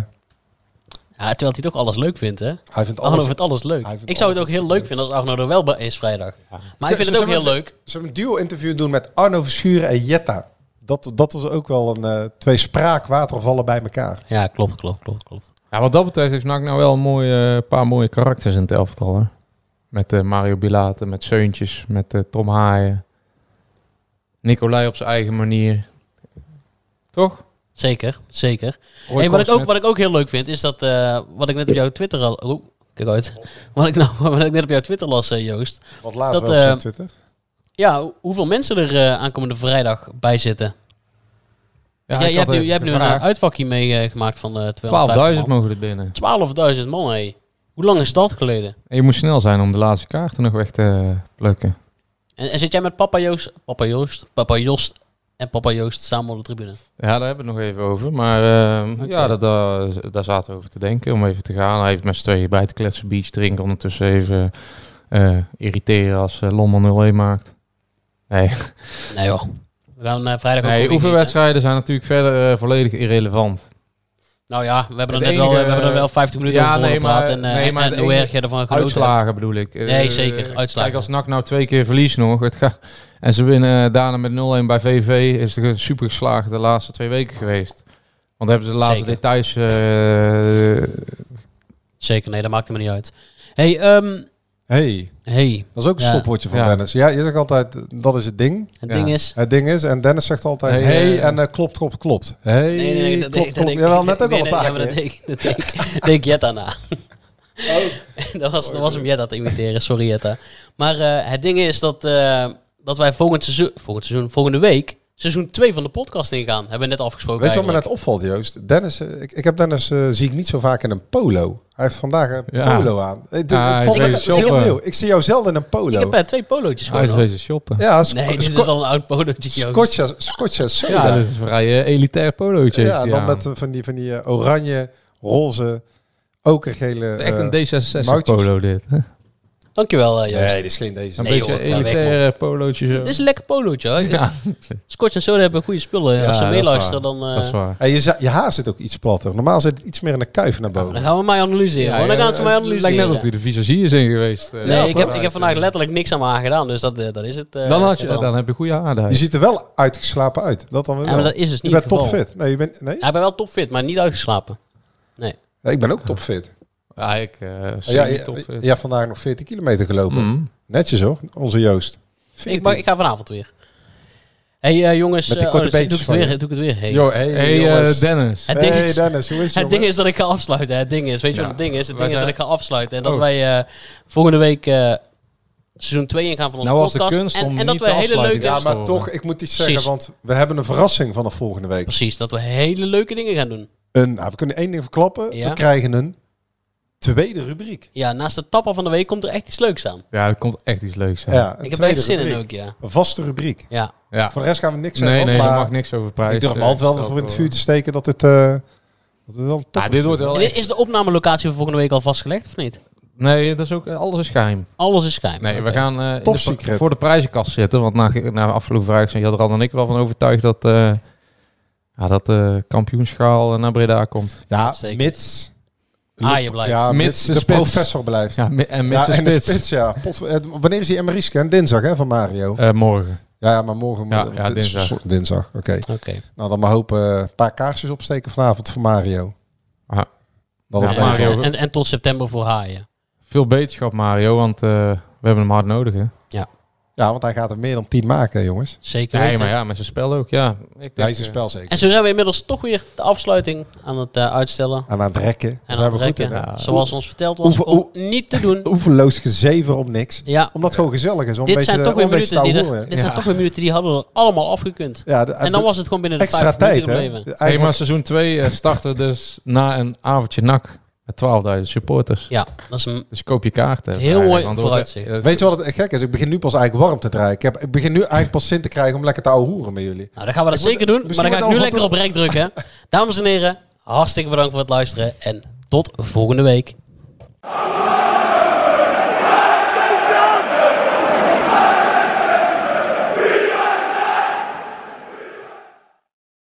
Speaker 5: Ja, terwijl hij toch alles leuk vindt, hè?
Speaker 7: hij vindt
Speaker 5: Arno
Speaker 7: alles...
Speaker 5: vindt alles leuk.
Speaker 7: Hij vindt
Speaker 5: Ik zou het ook
Speaker 7: alles
Speaker 5: heel leuk vinden als Arno er wel bij is vrijdag. Maar ik
Speaker 7: Ze-
Speaker 5: vind het
Speaker 7: ze
Speaker 5: ook heel
Speaker 7: hebben-
Speaker 5: leuk.
Speaker 7: Ze hebben een duo-interview doen met Arno Verschuren en Jetta. Dat, dat was ook wel een eh, twee spraakwatervallen bij elkaar.
Speaker 5: Ja, klopt, klopt, klopt, klopt.
Speaker 6: Ja, wat dat betreft heeft NAC nou wel een mooie, eh, paar mooie karakters in het elftal. Hè? Met eh, Mario Bilate, met Seuntjes, met eh, Tom Haaien. Nicolai op zijn eigen manier. Toch?
Speaker 5: Zeker, zeker.
Speaker 6: Roy
Speaker 5: Hey, wat, ik ook,
Speaker 6: Korsmet.
Speaker 5: wat ik ook heel leuk vind, is dat eh, wat ik net op jouw Twitter al. Oeh, kijk uit. Wat ik, nou, wat ik net op jouw Twitter las, eh, Joost.
Speaker 7: Wat laatst
Speaker 5: Dat,
Speaker 7: wel op zijn
Speaker 5: eh,
Speaker 7: Twitter.
Speaker 5: Ja, hoe- hoeveel mensen er eh, aankomende vrijdag bij zitten?
Speaker 6: Ja,
Speaker 5: jij,
Speaker 6: ik
Speaker 5: jij hebt
Speaker 6: had
Speaker 5: nu,
Speaker 6: een
Speaker 5: jij hebt nu een
Speaker 6: vraag.
Speaker 5: eh, uitvakje meegemaakt van eh
Speaker 6: 12.000
Speaker 5: 12.000 man.
Speaker 6: mogen er binnen.
Speaker 5: 12.000 man, hé. Hoe lang is dat geleden?
Speaker 6: En je moet snel zijn om de laatste kaarten nog weg te eh, plukken.
Speaker 5: En, en zit jij met papa Joost, papa Joost, papa Joost en papa Joost samen op de tribune?
Speaker 6: Ja, daar hebben we het nog even over. Maar ehm,
Speaker 5: Oké.
Speaker 6: ja, dat, daar- daar zaten we over te denken. Om even te gaan. Hij heeft met z'n tweeën bij te kletsen. Beach drinken. Ondertussen even eh, irriteren als eh Lommel 0-1 maakt. Nee,
Speaker 5: Nee joh. We gaan eh, vrijdag
Speaker 6: nee
Speaker 5: ook nog niet eten.
Speaker 6: oefenwedstrijden zijn natuurlijk verder eh, volledig irrelevant.
Speaker 5: Nou ja, we hebben er
Speaker 6: Het
Speaker 5: net wel,
Speaker 6: enige-
Speaker 5: we hebben er wel 50 minuten
Speaker 6: Ja,
Speaker 5: over
Speaker 6: nee,
Speaker 5: nee, gepraat.
Speaker 6: maar-
Speaker 5: En, eh,
Speaker 6: nee, maar
Speaker 5: en
Speaker 6: het
Speaker 5: hoe
Speaker 6: enige-
Speaker 5: erg je ervan genoten hebt.
Speaker 6: Uitslagen bedoel ik. Eh,
Speaker 5: Nee, zeker, uitslagen.
Speaker 6: Kijk, als NAC nou twee keer verliest nog. Het ga, en ze winnen eh, daarna met 0-1 bij VV. Is het super geslagen de laatste twee weken geweest. Want hebben ze de laatste
Speaker 5: Zeker.
Speaker 6: details eh,
Speaker 5: Zeker, nee, dat maakt me niet uit. hey, ehm,
Speaker 7: Hey,
Speaker 5: hey,
Speaker 7: dat is ook een
Speaker 5: Ja.
Speaker 7: stopwoordje van
Speaker 6: Ja.
Speaker 7: Dennis. Ja, je zegt altijd, dat is het ding.
Speaker 5: het
Speaker 6: Ja.
Speaker 5: ding is...
Speaker 7: Het ding is, en Dennis zegt altijd,
Speaker 6: Hey,
Speaker 7: hey,
Speaker 6: eh,
Speaker 7: en eh, klopt, klopt, klopt. Hey,
Speaker 5: Nee, nee, nee, dat
Speaker 7: klopt,
Speaker 5: deed- dat
Speaker 7: klopt.
Speaker 5: deed-
Speaker 7: Jawel, net ook
Speaker 5: nee,
Speaker 7: al een
Speaker 5: nee,
Speaker 7: paar
Speaker 5: ja, maar
Speaker 7: keer.
Speaker 5: dat deed- dat deed- deed ik Jetta na.
Speaker 7: Oh.
Speaker 5: dat, was, dat was hem Jetta te imiteren, sorry Jetta. Maar eh, het ding is dat, eh, dat wij volgend seizoen, volgend seizoen, volgende week, seizoen 2 van de podcast ingaan. Hebben we net afgesproken
Speaker 7: Weet je wat me
Speaker 5: eigenlijk.
Speaker 7: net opvalt, Joost? Dennis, eh, ik, ik heb Dennis, eh, zie ik niet zo vaak in een polo. Hij heeft vandaag een
Speaker 6: Ja.
Speaker 7: polo aan. Het- Het,
Speaker 5: Ah,
Speaker 6: Ja,
Speaker 7: het
Speaker 6: ik
Speaker 7: valt me-
Speaker 6: weet
Speaker 7: het is
Speaker 6: het,
Speaker 7: heel
Speaker 6: shoppen.
Speaker 7: nieuw. Ik zie jou zelden in een
Speaker 5: Ik
Speaker 7: polo. Ah,
Speaker 5: heb eh, twee polootjes
Speaker 6: Hij is
Speaker 5: gewoon. hoor.
Speaker 6: wezen shoppen.
Speaker 7: Ja, sco
Speaker 5: Nee, dit
Speaker 7: sco-
Speaker 5: is al een oud polootje, Joost.
Speaker 7: Scotch- Scotch en soda.
Speaker 6: Ja, dat is een vrij eh, elitair polootje.
Speaker 7: Ja,
Speaker 6: heeft hij
Speaker 7: dan
Speaker 6: aan.
Speaker 7: met eh, van die, van die eh, oranje, roze, okergele...
Speaker 6: Het is echt
Speaker 7: eh,
Speaker 6: een D66
Speaker 7: mouwtjes.
Speaker 6: polo dit. hè?
Speaker 5: Dankjewel, eh, Joost.
Speaker 7: Nee, dit is geen deze.
Speaker 6: Een
Speaker 5: Nee,
Speaker 6: beetje
Speaker 5: joh,
Speaker 6: een
Speaker 5: ga weg,
Speaker 6: elitair polootje zo.
Speaker 5: Dit is een lekker polootje. hoor.
Speaker 6: ja,
Speaker 5: Scotch en Soda hebben goede spullen.
Speaker 6: Ja,
Speaker 5: Als ze
Speaker 6: dat is
Speaker 5: meeluisteren,
Speaker 6: waar.
Speaker 5: dan, eh,
Speaker 6: dat is waar.
Speaker 7: Hey, je, za- je haar zit ook iets platter. Normaal zit het iets meer in een kuif naar boven.
Speaker 5: dan gaan we mij analyseren. hoor. dan gaan ze mij
Speaker 6: Het lijkt net
Speaker 5: analyseren.
Speaker 6: dat hij de visagie is in geweest. eh.
Speaker 5: Nee,
Speaker 7: Ja,
Speaker 5: ik, heb, ik heb vandaag letterlijk niks aan me aangedaan, dus dat, eh, dat is het. eh,
Speaker 6: dan, had je,
Speaker 5: gedaan.
Speaker 6: dan heb je goede aardappelen.
Speaker 7: Je ziet er wel uitgeslapen uit. Dat dan wel.
Speaker 5: Ja, maar dat is dus
Speaker 7: je
Speaker 5: niet
Speaker 7: bent
Speaker 5: het geval.
Speaker 7: topfit. Nee, je bent, nee?
Speaker 5: Ja, ik ben wel topfit, maar niet uitgeslapen.
Speaker 7: Ja, ik ben ook topfit.
Speaker 6: Ja, ik eh
Speaker 7: Ja,
Speaker 6: ja,
Speaker 7: je,
Speaker 6: top. eh.
Speaker 7: je hebt vandaag nog 40 kilometer
Speaker 5: Mm.
Speaker 7: gelopen.
Speaker 6: Mhm.
Speaker 7: Netjes hoor, onze Joost.
Speaker 5: Ik, mag- ik ga vanavond weer. hey, eh, jongens,
Speaker 7: Met die
Speaker 5: eh,
Speaker 7: korte
Speaker 5: dus doe
Speaker 7: beentjes
Speaker 5: ik
Speaker 7: van
Speaker 5: het
Speaker 7: je.
Speaker 5: weer, doe ik het weer. Hey.
Speaker 7: Yo, hey,
Speaker 6: Hey eh,
Speaker 7: jongens.
Speaker 6: Dennis.
Speaker 5: het ding
Speaker 7: Hey,
Speaker 5: is,
Speaker 7: Dennis, hoe is
Speaker 5: het
Speaker 7: het?
Speaker 5: ding
Speaker 7: jongen?
Speaker 5: is dat ik ga afsluiten. Het ding is, weet je
Speaker 6: Ja,
Speaker 5: wat het ding is?
Speaker 6: wij
Speaker 5: Het ding is dat
Speaker 6: zijn-
Speaker 5: ik ga afsluiten en dat
Speaker 6: Oh.
Speaker 5: wij eh, volgende week eh, seizoen 2 ingaan van onze
Speaker 6: Nou was de
Speaker 5: podcast.
Speaker 6: kunst
Speaker 5: en,
Speaker 6: om
Speaker 5: en
Speaker 6: niet
Speaker 5: dat
Speaker 6: te
Speaker 5: we hele
Speaker 6: afsluiten.
Speaker 5: leuke,
Speaker 7: Ja,
Speaker 6: Eerst
Speaker 7: maar
Speaker 6: horen.
Speaker 7: toch, ik moet iets zeggen,
Speaker 5: Precies.
Speaker 7: want we hebben een verrassing vanaf volgende week.
Speaker 5: precies, dat we hele leuke dingen gaan doen.
Speaker 7: Een, nou, we kunnen één ding verklappen.
Speaker 5: Ja.
Speaker 7: We krijgen een tweede rubriek.
Speaker 5: Ja, naast de tapper van de week komt er echt iets leuks aan.
Speaker 6: Ja, er komt echt iets leuks aan. Ja.
Speaker 7: Ja, een
Speaker 5: Ik heb er
Speaker 7: tweede
Speaker 5: echt zin in
Speaker 7: rubriek.
Speaker 5: ook, ja.
Speaker 7: Een vaste rubriek.
Speaker 5: Ja,
Speaker 7: Voor de rest gaan we niks
Speaker 6: Nee,
Speaker 7: zeggen,
Speaker 6: nee, daar
Speaker 7: maar
Speaker 6: mag eh, niks over prijzen.
Speaker 7: ik durf me altijd wel voor in het vuur te steken dat het... eh, dat we wel een
Speaker 6: Ja,
Speaker 7: topper
Speaker 6: dit wordt wel
Speaker 5: En
Speaker 6: echt...
Speaker 5: is de opnamelocatie voor volgende week al vastgelegd of niet?
Speaker 6: Nee, dat is ook... eh, Alles is geheim.
Speaker 5: Alles is schijn.
Speaker 6: Nee, we gaan eh, in
Speaker 7: Top
Speaker 6: de-
Speaker 7: secret.
Speaker 6: voor de prijzenkast zitten. Want na, na afgelopen vrijdag zijn Jadran en ik wel van overtuigd dat, eh ja, dat de kampioenschaal eh, naar Breda komt.
Speaker 7: Ja,
Speaker 5: Uitstekend.
Speaker 7: mits.
Speaker 5: Ah, je blijft.
Speaker 7: Ja,
Speaker 6: Mits
Speaker 7: mits
Speaker 6: de
Speaker 7: de
Speaker 6: spits.
Speaker 7: professor blijft. Ja,
Speaker 6: Ja, mi- en met
Speaker 7: en
Speaker 6: zijn
Speaker 7: de
Speaker 6: spits.
Speaker 7: spits, ja. Pot- eh, wanneer is die MRI-scan? Dinsdag, hè, van Mario?
Speaker 6: Eh, morgen.
Speaker 7: ja, ja, maar morgen...
Speaker 6: ja,
Speaker 7: moet-
Speaker 6: ja,
Speaker 7: dit is
Speaker 6: dinsdag.
Speaker 7: zo- Dinsdag, oké.
Speaker 5: Oké.
Speaker 7: Nou, dan maar hopen eh, een paar kaarsjes opsteken vanavond voor Mario.
Speaker 6: Ah.
Speaker 7: Dat
Speaker 6: Ja,
Speaker 7: het
Speaker 5: En,
Speaker 7: blijft.
Speaker 6: Mario.
Speaker 5: en, en tot september voor haaien.
Speaker 6: Veel beterschap, Mario, want eh, we hebben hem hard nodig, hè?
Speaker 7: Ja, want hij gaat er meer dan tien maken, hè, jongens.
Speaker 5: Zeker
Speaker 6: Nee,
Speaker 5: weten.
Speaker 6: maar ja, met zijn spel ook, ja. Ik denk,
Speaker 7: Ja, is een
Speaker 6: eh,
Speaker 7: spel zeker.
Speaker 5: En zo zijn we inmiddels toch weer de afsluiting aan het eh, uitstellen.
Speaker 7: En aan het rekken. Dus Daar
Speaker 5: En
Speaker 7: zijn
Speaker 5: aan het
Speaker 7: we goed in,
Speaker 5: rekken.
Speaker 7: hè?
Speaker 5: Zoals ons verteld was,
Speaker 7: Oefen-
Speaker 5: om niet te doen.
Speaker 7: Oeverloos gezever om niks.
Speaker 5: Ja,
Speaker 7: Omdat het gewoon gezellig is. Om een
Speaker 5: dit
Speaker 7: beetje,
Speaker 5: zijn toch
Speaker 7: om een
Speaker 5: weer
Speaker 7: beetje
Speaker 5: minuten die
Speaker 7: te
Speaker 5: er-
Speaker 7: ouwehoeren.
Speaker 5: dit zijn toch weer minuten die hadden we allemaal afgekund.
Speaker 7: Ja, de-
Speaker 5: En dan was het gewoon binnen de
Speaker 7: extra
Speaker 5: 50
Speaker 7: tijd,
Speaker 5: minuten
Speaker 7: hè?
Speaker 5: gebleven.
Speaker 6: Hey, maar
Speaker 7: Eigenlijk-
Speaker 6: seizoen 2 starten we dus na een avondje nak met 12.000 supporters.
Speaker 5: Ja, dat is een... nou,
Speaker 6: Dus koop je kaarten.
Speaker 5: Heel mooi
Speaker 6: want het wordt-
Speaker 5: vooruitzicht.
Speaker 6: eh,
Speaker 7: Weet je wat het gek is? Ik begin nu pas eigenlijk warm te draaien. Ik, heb, ik begin nu eigenlijk pas zin te krijgen om lekker te ouwehoeren met jullie.
Speaker 5: Nou, dan gaan we dat
Speaker 7: Ik moet-
Speaker 5: zeker doen. Maar
Speaker 7: misschien
Speaker 5: dan ga
Speaker 7: moet
Speaker 5: ik nu
Speaker 7: al
Speaker 5: lekker
Speaker 7: wat-
Speaker 5: op rek drukken. Dames en heren, hartstikke bedankt voor het luisteren. En tot volgende week.